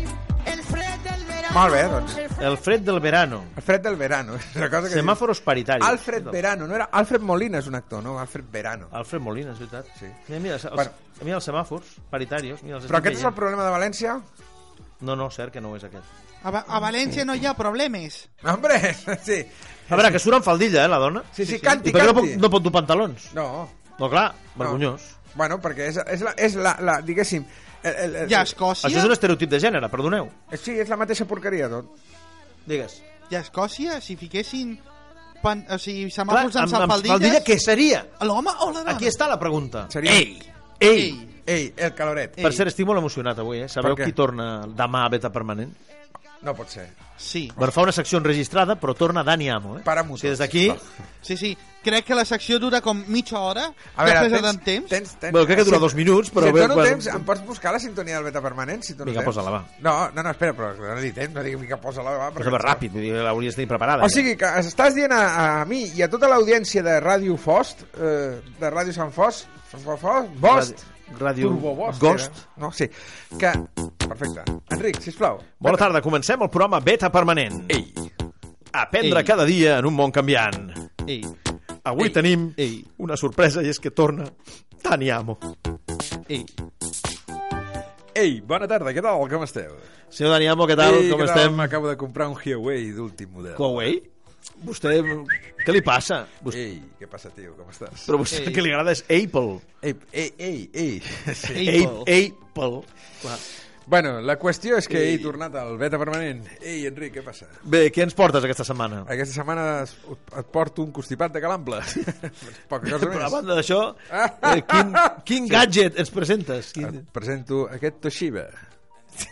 S10: el fred del verano.
S5: Molt bé, doncs.
S3: El fred del verano.
S5: El fred del verano. És una cosa que
S3: Semàforos
S5: dius.
S3: paritaris.
S5: Alfred Verano, no era Alfred Molina és un actor, no? Alfred Verano.
S3: Alfred Molina, és veritat.
S5: Sí.
S3: Mira, mira, els,
S5: Bueno.
S3: els, mira els semàfors paritarios. Mira, els
S5: Però
S3: estic
S5: aquest és el problema de València?
S3: veient. No, no, cert que no ho és aquest.
S4: A, Va- a València no hi ha problemes.
S5: Hombre, sí.
S3: A veure, que surt amb faldilla, eh, la dona.
S5: Sí, sí,
S3: I
S5: canti,
S3: per què no pot,
S5: canti.
S3: no pot dur pantalons?
S5: No.
S3: No, clar, vergonyós.
S5: Bueno, perquè és, és, la, és la, la diguéssim... El, el, el,
S4: Hi ha Escòcia,
S3: Això és un estereotip de gènere, perdoneu.
S5: Sí, és la mateixa porqueria, tot.
S3: Digues.
S4: hi ha Escòcia, si fiquessin pan, o sigui,
S3: Clar,
S4: semàfors
S3: amb,
S4: amb,
S3: amb
S4: safaldilles...
S3: faldilla, què seria?
S4: L'home o la dona?
S3: Aquí està la pregunta.
S5: Seria... Ei!
S3: Ei!
S5: Ei, el caloret.
S3: Per cert, estic molt emocionat avui, eh? Sabeu
S5: Per què?
S3: qui torna demà a Beta Permanent?
S5: No pot ser.
S4: Sí,
S3: Bueno, fa una secció enregistrada, però torna Dani Amo, eh?
S5: Para motors.
S3: O sigui, des d'aquí...
S4: sí, sí. Crec que la secció dura com mitja hora.
S5: A veure,
S4: després
S5: tens,
S4: de tant temps.
S5: Tens, tens,
S3: Bueno, crec que dura dos minuts, però
S5: si et
S3: bé,
S5: dono
S3: bueno.
S5: temps, em pots buscar la sintonia del beta permanent? Si et dono
S3: Vinga,
S5: temps?
S3: posa-la, va.
S5: No, no, no, espera, però no li temps, no digui que posa-la, va.
S3: Però és ràpid, vull dir, l'hauries de tenir preparada.
S5: O sigui, que estàs dient a, a mi i a tota l'audiència de Ràdio Fost, eh, de Ràdio Sant Fost, Fost, Fost, Bost,
S3: Ràdio
S5: Turbo Bost,
S3: Ghost.
S5: era. No, sí. Que... Perfecte. Enric, sisplau.
S3: Bona tarda, comencem el programa Beta Permanent. Ei. Aprendre Ei. cada dia en un món canviant.
S4: Ei,
S3: Avui Ei. tenim Ei. una sorpresa i és que torna Dani Amo.
S4: ei.
S5: Ei, bona tarda, què tal? Com esteu?
S3: Senyor Dani Amo, què tal?
S5: Ei,
S3: Com
S5: què
S3: estem?
S5: M'acabo de comprar un Huawei d'últim model.
S3: Huawei? Vostè... Què li passa? Vostè...
S5: Ei, què passa, tio? Com estàs?
S3: Però vostè el que li agrada és Apple.
S5: Ei, ei, ei, ei. Sí.
S3: Apple. Apple. Clar.
S5: Bueno, la qüestió és que he tornat al beta permanent. Ei, Enric, què passa?
S3: Bé, què ens portes aquesta setmana?
S5: Aquesta setmana es- et porto un constipat de calample. Poca cosa
S3: Però a
S5: més.
S3: banda d'això, eh, quin, quin gadget ens presentes? Quin...
S5: Et presento aquest Toshiba.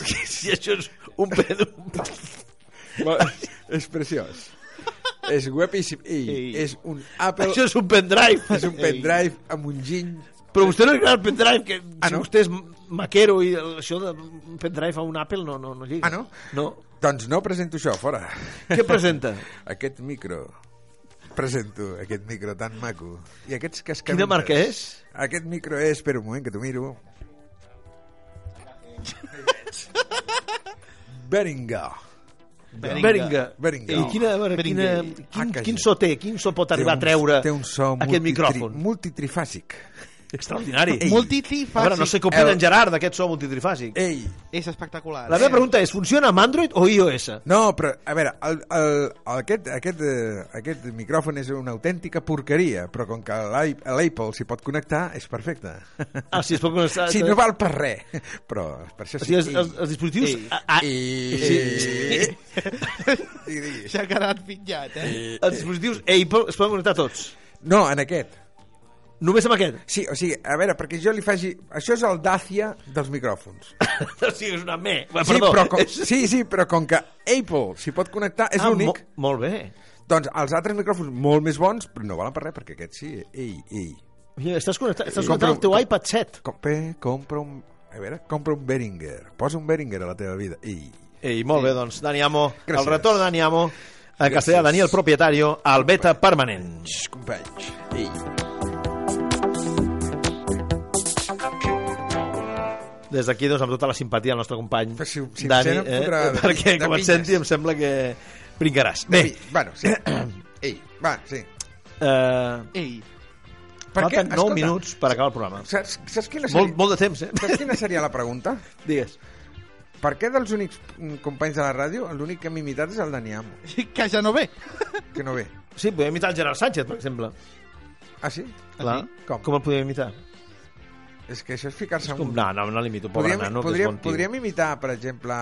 S3: Si això és un pedo...
S5: Bueno, és preciós. És guapíssim. Ei,
S3: Ei.
S5: és un Apple...
S3: Això és un pendrive.
S5: és un pendrive amb un giny.
S3: Però vostè no li agrada el pendrive, que
S5: Ah,
S3: ah, no?
S5: no?
S3: si vostè és maquero i el- això de un pendrive a un Apple no, no, no lliga.
S5: Ah, no?
S3: No.
S5: Doncs no presento això, fora.
S3: Què presenta?
S5: Aquest micro. Presento aquest micro tan maco. I aquests cascaruntes.
S3: Quina marca és?
S5: Aquest micro és... Espera un moment, que t'ho miro. Beringer.
S3: Beringa.
S5: Behringer.
S3: I quina, a veure, quina,
S5: Ah,
S3: quin,
S5: que
S3: quin
S5: sí.
S3: so té? Quin so pot arribar a treure
S5: té un so
S3: aquest micròfon?
S5: multitrifàsic.
S3: Extraordinari.
S4: Multitrifàsic.
S3: A veure, no sé què opina
S5: El-
S3: en Gerard d'aquest so multitrifàsic.
S5: Ei,
S4: És espectacular.
S5: eh.
S3: La meva pregunta és, funciona amb Android o iOS?
S5: no, però, a veure, el, el, el, aquest, aquest, eh, aquest micròfon és una autèntica porqueria, però com que l'i- l'Apple s'hi pot connectar, és perfecte.
S3: Ah, si es pot connectar...
S5: Sí, no val per res, però per això
S3: O
S5: sí.
S3: sigui, els, els, els dispositius...
S4: Ei.
S3: Ah, ah,
S5: I... I... I...
S4: S'ha quedat pitjat, eh?
S3: els dispositius Apple es poden connectar tots.
S5: No, en aquest.
S3: Només amb aquest.
S5: Sí, o sigui, a veure, perquè jo li faci... Això és el Dacia dels micròfons.
S3: o sigui, és una me. Va, Ah,
S5: Sí,
S3: perdó. Eh,
S5: però com,
S3: És-
S5: sí, sí, però com que Apple s'hi pot connectar, és l'únic.
S3: Ah, mo- molt bé.
S5: Doncs els altres micròfons molt més bons però no valen per res, perquè aquests sí. Ei, ei.
S3: Mira, estàs connectat, estàs
S5: Eh,
S3: connectat al
S5: compro-
S3: teu iPad 7.
S5: Compre, compra un... A veure, compra un Behringer. Posa un Behringer a la teva vida. Ei.
S3: Ei, molt bé, doncs, Dani Amo.
S5: Gràcies.
S3: El retorn de Dani Amo. A castellà,
S5: Gràcies.
S3: Daniel Propietario, al Beta Permanent.
S5: Xx, companys. Ei.
S3: Des d'aquí, doncs, amb tota la simpatia al nostre company
S5: Però si- si em
S3: Dani,
S5: sent, em
S3: eh?
S5: fotrà de-
S3: perquè
S5: de
S3: com et
S5: pinyes.
S3: senti em sembla que pringaràs. Bé,
S5: Ei, Bueno, sí. Ei, va, sí.
S3: eh,
S4: Ei,
S3: falten 9
S5: escolta,
S3: minuts per acabar el programa.
S5: Saps, saps, quina seria,
S3: Molt, molt de temps, eh?
S5: saps quina seria la pregunta?
S3: Digues.
S5: Per què dels únics mm, companys de la ràdio l'únic que hem imitat és el Dani Amo,
S4: que ja no ve.
S5: que no ve?
S3: Sí, podem imitar el Gerard Sánchez, per exemple.
S5: Ah, sí?
S3: Clar.
S5: Com?
S3: Com el podem imitar?
S5: És que això és ficar-se en
S3: Com?
S5: un-
S3: No, no, no l'imito, pobre
S5: Podríem,
S3: podríem, nano,
S5: podríem,
S3: que és bon
S5: podríem imitar, per exemple...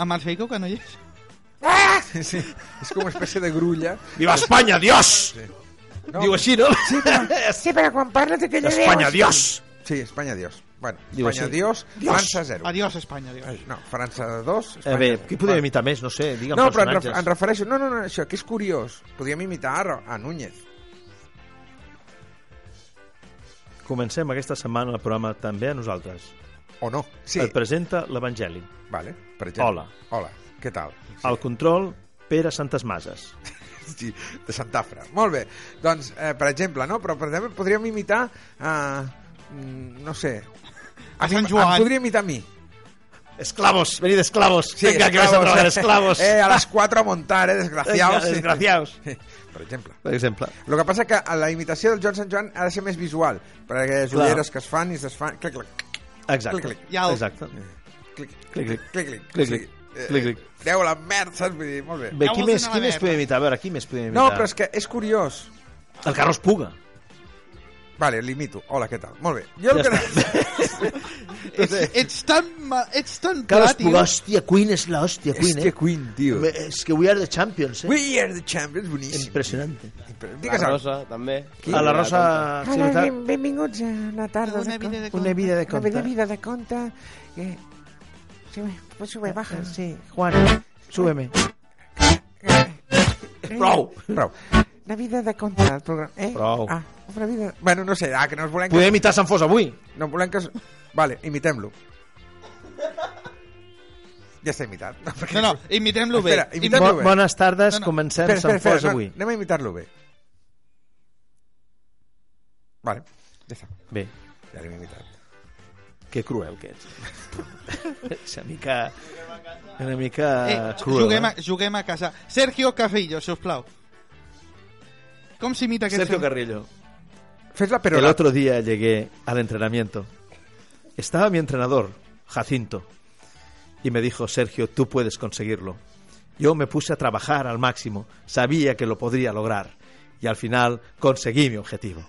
S4: Amb el Feico que no hi és.
S5: Sí, sí. És com una espècie de grulla.
S3: tio. Viva Espanya, Dios!
S5: No?
S3: Diu així, no? Sí,
S11: Sí, pero Juan Pablo te quería
S3: Espanya, Dios!
S5: Sí, Espanya, Dios. Bueno,
S3: Diu
S5: Espanya,
S3: així.
S5: Dios, França, zero.
S4: Adiós, Espanya, adiós.
S5: No, França, dos.
S3: Eh,
S5: Espanya,
S3: bé,
S5: zero.
S3: qui podríem
S5: Bueno.
S3: imitar més? No sé, digue'm
S5: No, però en,
S3: personatges.
S5: ref- en refereixo... No, no, no, això, que és curiós. Podríem imitar a, a Núñez.
S3: Comencem aquesta setmana el programa també a nosaltres.
S5: O no. Sí,
S3: Sí. Et presenta l'Evangeli.
S5: vale, per exemple.
S3: Eh, Hola.
S5: Hola, què tal?
S3: Sí. Al control, Pere Santes Mases.
S5: Sí, de Santafra. Molt bé. Doncs, eh, per exemple, no? Però per exemple, podríem imitar... Eh, mm, no sé...
S4: A
S5: mi-
S4: Sant Joan.
S5: Em podria imitar a mi.
S3: Esclavos, venid esclavos. Venga, que vais a
S5: esclavos,
S3: trabajar
S5: eh.
S3: esclavos.
S5: Eh, a las 4 a montar, eh, desgraciados.
S3: Venga, desgraciados.
S5: Sí, Per exemple.
S3: Per exemple.
S5: El que passa que a la imitació del Joan Sant Joan ha de ser més visual, perquè les
S3: Clar.
S5: ulleres que es fan i es desfan... Clic, clic,
S3: Exacte.
S5: Clic, clic.
S4: Ja ho-
S3: Exacte.
S5: clic,
S3: Clic, clic.
S5: clic, clic,
S3: Clic,
S5: Sí.
S3: clic. Clic, clic.
S5: Eh, Déu la merda, saps? Vull dir, molt bé. eh?
S3: Bé,
S4: Ja
S3: qui
S4: vols
S3: més,
S4: anar a
S3: qui
S4: la
S3: més
S4: guerra.
S3: podem imitar? A veure, qui més podem imitar?
S5: No, però és que és curiós.
S3: El Carlos Puga.
S5: Vale, l'imito. Hola, què tal? Molt bé. Jo el
S3: Ja
S5: que...
S4: Ets, ets tan, ma- ets tan pla,
S3: Carlos
S4: tio.
S3: Puga, hòstia, Queen és la hòstia, Queen, eh?
S5: Queen, tio.
S3: Home, És que we are the champions, eh?
S5: We are the champions, boníssim.
S3: Impressionante.
S5: Impre-
S1: La
S5: Digues alguna cosa.
S1: Rosa, també.
S3: A la Rosa... sí,
S10: Hola,
S3: veritat?
S10: ben, benvinguts a una tarda
S4: Una
S10: de,
S4: vida de
S10: una
S4: conte.
S10: vida de
S4: Una
S10: conte.
S4: vida-
S10: vida de conte. Eh, sube, pues sube, baja. Sí, Juan, súbeme.
S3: Prou!
S5: Eh, Prou.
S10: Una vida de conte, el programa. Eh?
S3: Prou. Pues-
S10: Ah, una vida...
S5: Bueno, no sé, ah, que no us volem...
S3: Podem imitar Sant Fos avui?
S5: No volem que... es- Vale, imitem-lo. Ja està imitat. No, perquè-
S4: No, no, imitem-lo bé.
S5: Espera, imitem-lo
S4: Imitem-
S5: bé.
S3: Bones tardes,
S4: No, no.
S3: comencem
S5: Espera, espera,
S3: Sant
S5: espera.
S3: Fos
S5: No,
S3: avui.
S5: anem a imitar-lo bé. Vale, ja està.
S3: Bé,
S5: Ja l'hem imitat.
S3: que cruel que ets. És una mica... Una mica
S4: Eh,
S3: cruel,
S4: juguem, a,
S3: eh?
S4: juguem a casa. Sergio Cafillo, sisplau. Com s'imita aquest
S3: Sergio
S4: senyor?
S3: Carrillo.
S5: Fes-la, però...
S3: El otro día llegué al entrenamiento. Estaba mi entrenador, Jacinto, y me dijo, Sergio, tú puedes conseguirlo. Yo me puse a trabajar al máximo, sabía que lo podría lograr, y al final conseguí mi objetivo.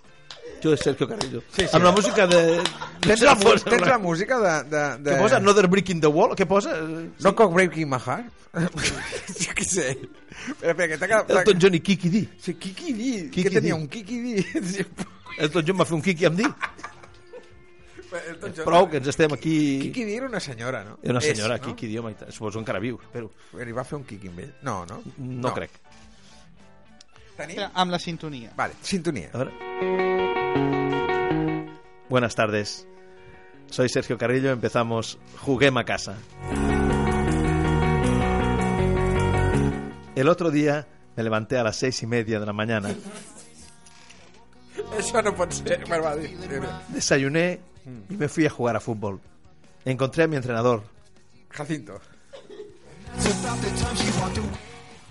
S3: Yo de Sergio Carrillo.
S5: Sí, sí.
S3: Amb la música de...
S5: Tens la, mu- tens la música de... de, de...
S3: Què posa? Another Breaking the Wall? Què posa?
S5: No cock breaking my heart? jo què sé. Espera, espera, que t'ha quedat...
S3: Elton John i Kiki D.
S5: Sí, Kiki D.
S3: Kiki
S5: que tenia
S3: D.
S5: un Kiki D. Sí, pues,
S3: Elton John va fer un Kiki amb D.
S5: Elton John.
S3: Prou que ens estem aquí...
S5: Kiki D era una senyora, no?
S3: Era una
S5: És,
S3: senyora,
S5: no?
S3: Kiki D, home, i tant. suposo encara viu, espero.
S5: Li va fer un Kiki amb ell. No, no?
S3: No, crec.
S5: Tenim?
S4: Espera, Amb la sintonia.
S5: Vale, sintonia.
S3: A ver. Buenas tardes. Soy Sergio Carrillo. Empezamos Juguema Casa. El otro día me levanté a las seis y media de la mañana.
S5: Això no pot ser. Bueno, va, di- di-
S3: Desayuné y me fui a jugar a fútbol. Encontré a mi entrenador
S5: Jacinto.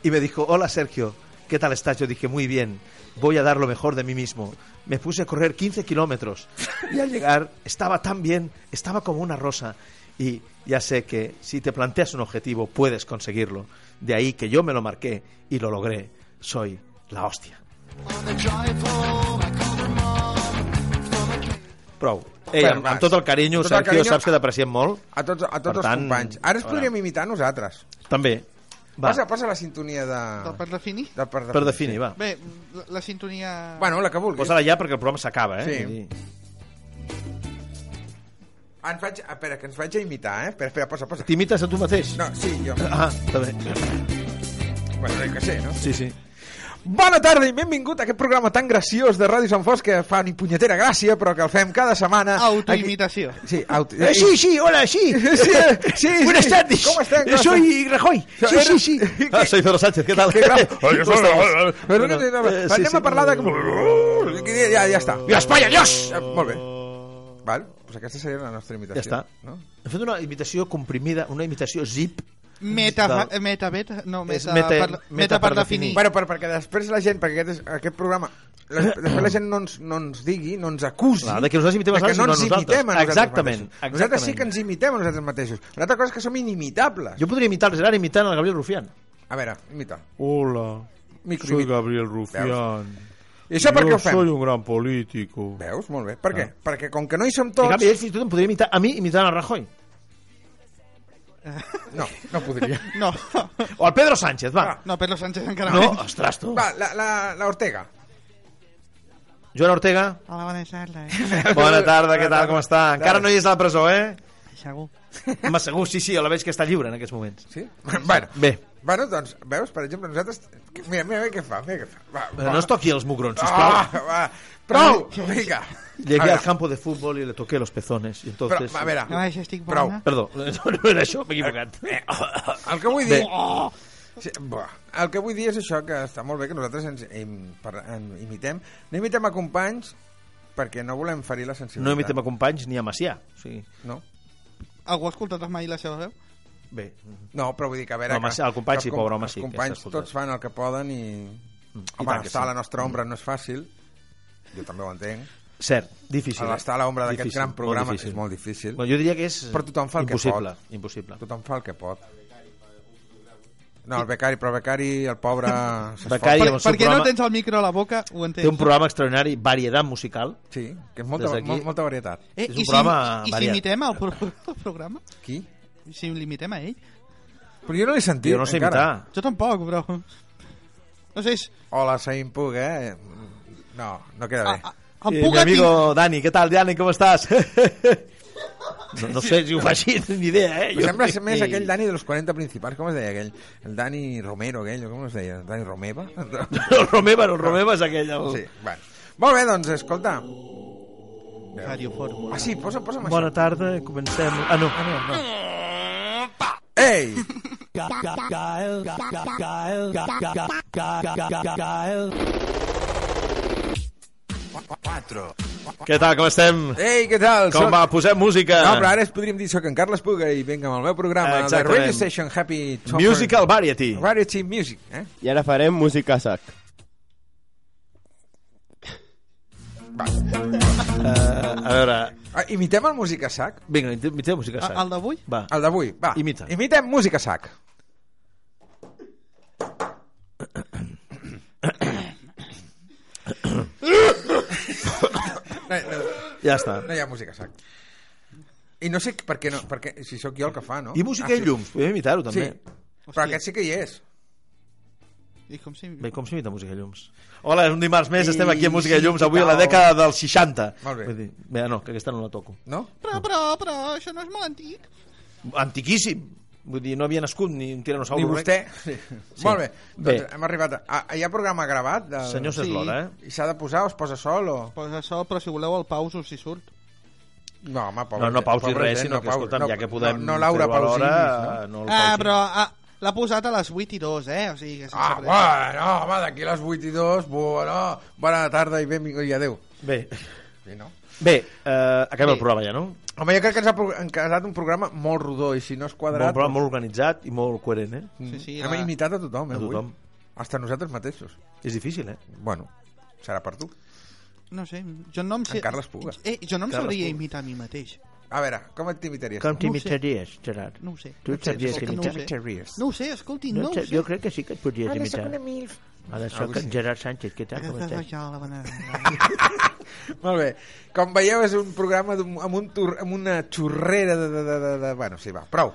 S3: y me dijo, hola Sergio, ¿qué tal estás? Yo dije, muy bien, voy a dar lo mejor de mí mismo. Me puse a correr 15 kilómetros y al llegar estaba tan bien, estaba como una rosa. Y ya sé que si te planteas un objetivo puedes conseguirlo. De ahí que yo me lo marqué y lo logré. Soy la hostia. Prou. Ei,
S5: Bueno,
S3: Eh, amb,
S5: va,
S3: amb tot el carinyo,
S5: amb tot el
S3: Sergio,
S5: carinyo-
S3: saps que t'apreciem molt?
S5: A tots, a
S3: Per
S5: tots els
S3: tant,
S5: companys. Ara ens
S3: a
S5: podríem
S3: veure.
S5: imitar nosaltres.
S3: També. Va,
S5: Passa, passa la sintonia de...
S4: Del Per definir?
S5: de per,
S3: per definir, va.
S4: Bé, la, la sintonia...
S5: Bueno, la que vulguis.
S3: Posa-la ja perquè el programa s'acaba, eh?
S5: Sí.
S3: Vull dir-
S5: Ah, ens vaig... Espera, que ens vaig a imitar, eh? Espera, espera, posa, posa.
S3: T'imites a tu mateix?
S5: No, sí, jo.
S3: Ah, està bé.
S5: Bueno, jo què sé, no?
S3: Sí, sí.
S5: Bona tarda i benvingut a aquest programa tan graciós de Ràdio Sant Fos que fa ni punyetera gràcia, però que el fem cada setmana.
S4: Autoimitació.
S5: ah, Aquí- Sí, auto...
S10: Eh, sí, sí, hola, sí.
S5: sí, sí.
S10: Buenas tardes.
S5: ¿Cómo están? ¿Cómo
S10: Soy Rajoy. Sí, sí, sí.
S3: Ah, soy Pedro Sánchez, ¿qué tal?
S5: Qué grave.
S3: Oye,
S5: ¿Cómo
S3: soy-
S5: estamos? Però no,
S3: Bueno,
S5: no, no,
S3: eh, sí,
S5: anem
S3: sí.
S5: a parlar de... Ja, ja està.
S3: ¡Dios, vaya, Dios!
S5: Eh, Molt bé. Val, doncs aquesta seria la nostra
S3: Ja
S5: imitació.
S3: està.
S5: No?
S3: Hem fet una imitació comprimida, una imitació zip.
S4: Meta,
S3: Del-
S4: meta, beta, no,
S3: És
S4: meta,
S3: meta-
S4: per,
S3: meta
S4: meta per
S3: per definir.
S4: definir.
S5: Bueno, però perquè després la gent, perquè aquest, és- aquest programa... La, després la gent no ens, no ens digui, no ens acusi...
S3: Clar, de que nosaltres imitem a
S5: de que
S3: nosaltres i
S5: no
S3: no
S5: ens
S3: a nosaltres.
S5: imitem a nosaltres
S3: Exactament,
S5: mateixos. Nosaltres sí
S3: exactament.
S5: que ens imitem a nosaltres mateixos. Una altra cosa és que som inimitables.
S3: Jo podria imitar-les ara imitant el Gabriel Rufián.
S5: A veure, imita.
S12: Hola,
S5: Micro-
S12: soy Gabriel Rufián.
S5: I això per què
S12: Yo
S5: ho fem?
S12: soy un gran político.
S5: Veus? Molt bé. Per què?
S12: Ah.
S5: Perquè com que no hi som
S3: En
S5: tots...
S3: canvi, ell fins i tot em podria imitar a mi imitant el Rajoy.
S5: No, no podria.
S4: No,
S3: O al Pedro Sánchez, va.
S4: no, Pedro Sánchez encara
S3: No,
S4: menys.
S3: ostres, tu.
S5: Va, la, la, la Ortega.
S3: Joan Ortega,
S13: Hola, bones tardes.
S3: bona tarda, què tal, com està? Encara no hi és a la presó, eh?
S13: Segur.
S3: Home, segur, sí, sí, la veig que està lliure en aquests moments.
S5: Sí? Bueno.
S3: Bé.
S5: Bueno, doncs, veus, per exemple, nosaltres... Mira, mira, mira què fa, mira què fa. Va,
S3: Però no es toqui els mugrons, sisplau.
S5: Ah, va. Prou! Vinga. A
S3: Llegué
S5: veure,
S3: al campo de fútbol y le toqué los pezones. Y
S5: Però,
S3: entonces...
S5: a Ah, eh, veure,
S13: No, això estic
S5: Prou.
S13: bona.
S3: Perdó, no era això, m'he equivocat.
S5: oh, el que vull dir... Sí, buah, el que vull dir és això, que està molt bé que nosaltres ens im, per, en, imitem. No imitem a companys perquè no volem ferir la sensibilitat.
S3: No imitem a companys ni a Macià. O sigui,
S5: No.
S4: Algú ha escoltat mai la seva veu?
S3: Bé.
S5: No, però vull dir que a veure...
S3: Home,
S5: que,
S3: sí, el company
S5: que
S3: sí,
S5: com-
S3: pobre home,
S5: els
S3: sí, que
S5: companys
S3: s'ha escoltat.
S5: tots fan el que poden i...
S3: i
S5: Home,
S3: tant que sí.
S5: estar a la nostra ombra no és fàcil, jo també ho entenc.
S3: Cert, difícil. eh.
S5: A l'estar a l'ombra d'aquest
S3: Difícil,
S5: gran
S3: molt
S5: programa
S3: difícil.
S5: és molt difícil.
S3: Bueno, jo diria que és
S5: Però tothom fa el
S3: impossible,
S5: que pot.
S3: impossible.
S5: Tothom fa el que pot. No, el becari, però el becari, el pobre... s'esforça.
S3: Becari,
S4: Per,
S3: amb el seu
S4: perquè
S3: programa-
S4: no tens el micro a la boca, ho entenc.
S3: Té un programa extraordinari, varietat musical.
S5: Sí, que és molta,
S3: Des d'aquí-
S5: mol- molta varietat.
S3: És
S4: Eh,
S3: un
S4: i, si,
S3: programa
S4: I si
S3: variat.
S4: imitem el, pro el programa?
S5: Qui?
S4: I Si l'imitem a ell?
S5: Però jo no l'he sentit,
S3: Jo no sé
S5: encara.
S3: imitar.
S4: Jo tampoc, però... No sé, és...
S5: Hola, soy Impug, eh? No, no queda
S1: Ah.
S5: bé.
S4: A, a,
S3: Eh,
S4: em puc
S3: mi amigo Dani, què tal, Dani, com estàs? no, no sé si ho fa així, ni idea, eh?
S5: Em sembla ser més aquell Dani de los 40 principals, com es deia aquell? El Dani Romero, aquell, o com es deia? El Dani Romeva?
S3: El Romeva, el Romeva és aquell... El...
S5: Sí, bueno. Molt bé, doncs, escolta.
S4: Ràdio Fórmula.
S5: Ah, sí, posa, posa'm
S3: Bona tarda, comencem... Ah, no. Ah, no, no.
S5: això. Ei!
S3: Què tal, com estem?
S5: Ei, què tal?
S3: Com
S5: Soc-
S3: va? Posem música.
S5: No, però ara es podríem dir, soc en Carles Puga i vinga amb el meu programa de
S3: Exactament.
S5: Radio Station Happy Talker.
S3: Musical Variety.
S5: Variety Music, eh?
S14: I ara farem música a sac.
S3: Eh, A veure,
S5: Ah, imitem el Música Sac?
S3: vinga, imita- imita música,
S4: A, el
S3: sac.
S4: d'avui?
S3: Va,
S5: El d'avui, va.
S3: Imita.
S5: Imitem Música Sac. No, no,
S3: ja està.
S5: no hi ha Música Sac. I no sé per què no, perquè si sóc jo el que fa, no? Ah,
S3: I música i
S5: sí.
S3: llums, podem Ah, imitar-ho també.
S5: Sí, però aquest sí que hi és.
S4: I com si...
S3: Bé, com s'imita música i llums? Hola, és un dimarts més,
S5: I-
S3: estem aquí a música i llums,
S5: sí,
S3: avui a la
S5: tal.
S3: dècada dels 60.
S5: Molt bé.
S3: Vull dir, bé, no, que aquesta no la toco.
S5: No?
S4: Però, però, però, això no és molt antic.
S3: Antiquíssim! Vull dir, no havia nascut ni un tiranosaure.
S5: Ni vostè. Sí. Molt bé. Doncs
S3: Bé.
S5: hem arribat a... a- Hi ha programa gravat? Del...
S3: Senyor
S4: Sí.
S3: Seslora, eh?
S5: I s'ha de posar o es posa sol o...
S4: Posa això, però si voleu el pauso si surt.
S5: No, home, pobre,
S3: No, no
S5: gent,
S3: pausis
S5: pobre
S3: res,
S5: gent,
S3: sinó que,
S5: pausis.
S3: escolta'm, ja que podem
S5: No, no
S3: fer-ho
S5: Laura
S3: a
S5: Pausini.
S3: l'hora,
S5: No?
S3: no el
S4: Ah,
S3: pausis.
S4: però ah, l'ha posat a les 8 i 2, eh? O sigui, que sense
S5: Ah,
S4: pressa.
S5: bueno, home, d'aquí a les 8 i 2, bueno, bona tarda i benvingut i adeu.
S3: Bé,
S5: Sí, no?
S3: bé eh, acabem el programa ja, no?
S5: Home, jo crec que ens ha pro- han quedat un programa molt rodó i si no és
S3: Molt,
S5: quadrat...
S3: programa molt organitzat i molt coherent, eh?
S5: Mm,
S4: Sí, sí,
S5: hem
S4: la-
S5: imitat a tothom, eh,
S3: A tothom.
S5: avui. Hasta nosaltres mateixos.
S3: És difícil, eh?
S5: Bueno, serà per tu.
S4: No sé, jo no em sé...
S5: En Carles Puga.
S4: Eh, jo no em
S3: Carles
S4: sabria
S3: Puga.
S4: imitar a mi mateix.
S5: A veure, com et t'imitaries?
S14: Com
S4: No ho sé.
S14: t'imitaries, Gerard?
S4: No ho sé.
S14: Tu
S4: No ho sé,
S14: t'hauries
S4: escolta,
S14: d'imitar.
S4: no ho sé.
S5: t'imitaries?
S4: No ho sé, escolti,
S14: No,
S4: no,
S14: te-
S4: ho sé.
S14: jo crec que sí que et
S5: Ah,
S14: podries
S1: Ara sóc
S14: imitar.
S1: una milf.
S14: Ara sóc en Gerard Sánchez, què tal, com estàs?
S4: Jo, la bona...
S5: Molt bé. Com veieu, és un programa d'un- amb, un tur, amb una xorrera de, de, de, de, de... Bueno, sí, va, prou.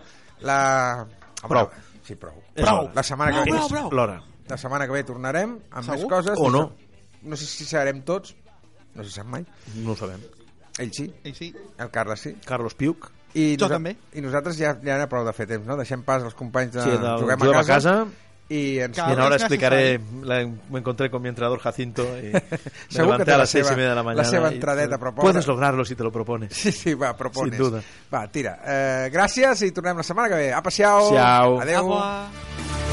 S5: La... Home,
S3: Prou.
S5: Sí, prou.
S3: És l'hora.
S5: La setmana
S14: Ah,
S5: que
S4: Prou,
S5: ve.
S4: prou, prou.
S3: L'hora.
S5: La setmana que ve tornarem amb
S4: Segur?
S5: més coses.
S3: O no.
S5: No sé si serem tots. No se sap mai.
S3: No ho sabem.
S5: Ell sí,
S4: I sí,
S5: el Carles sí.
S3: Carlos Piuc.
S5: I
S4: Jo
S5: nosa-
S4: també.
S5: I nosaltres ja, ja n'hi ha prou de fer temps, no? Deixem pas als companys
S14: Ah,
S5: de
S3: Sí, del
S5: Juguem,
S3: Juguem a Casa.
S5: I ens...
S4: Cal-
S3: Bien, ahora
S4: es
S3: explicaré, la- me encontré con mi entrenador Jacinto y me
S5: Segur que
S3: levanté
S5: té
S3: a
S5: la
S3: las seis
S5: seva-
S3: y media de la
S5: la
S3: mañana.
S5: seva
S3: y-
S5: entradeta proposa.
S3: Puedes lograrlo si te lo propones.
S5: Sí, sí, va, propones.
S3: Sin duda.
S5: Va, tira. Eh, gràcies i tornem la setmana que ve. Apa, siau.
S3: Siau.
S5: Adeu.
S4: Apa.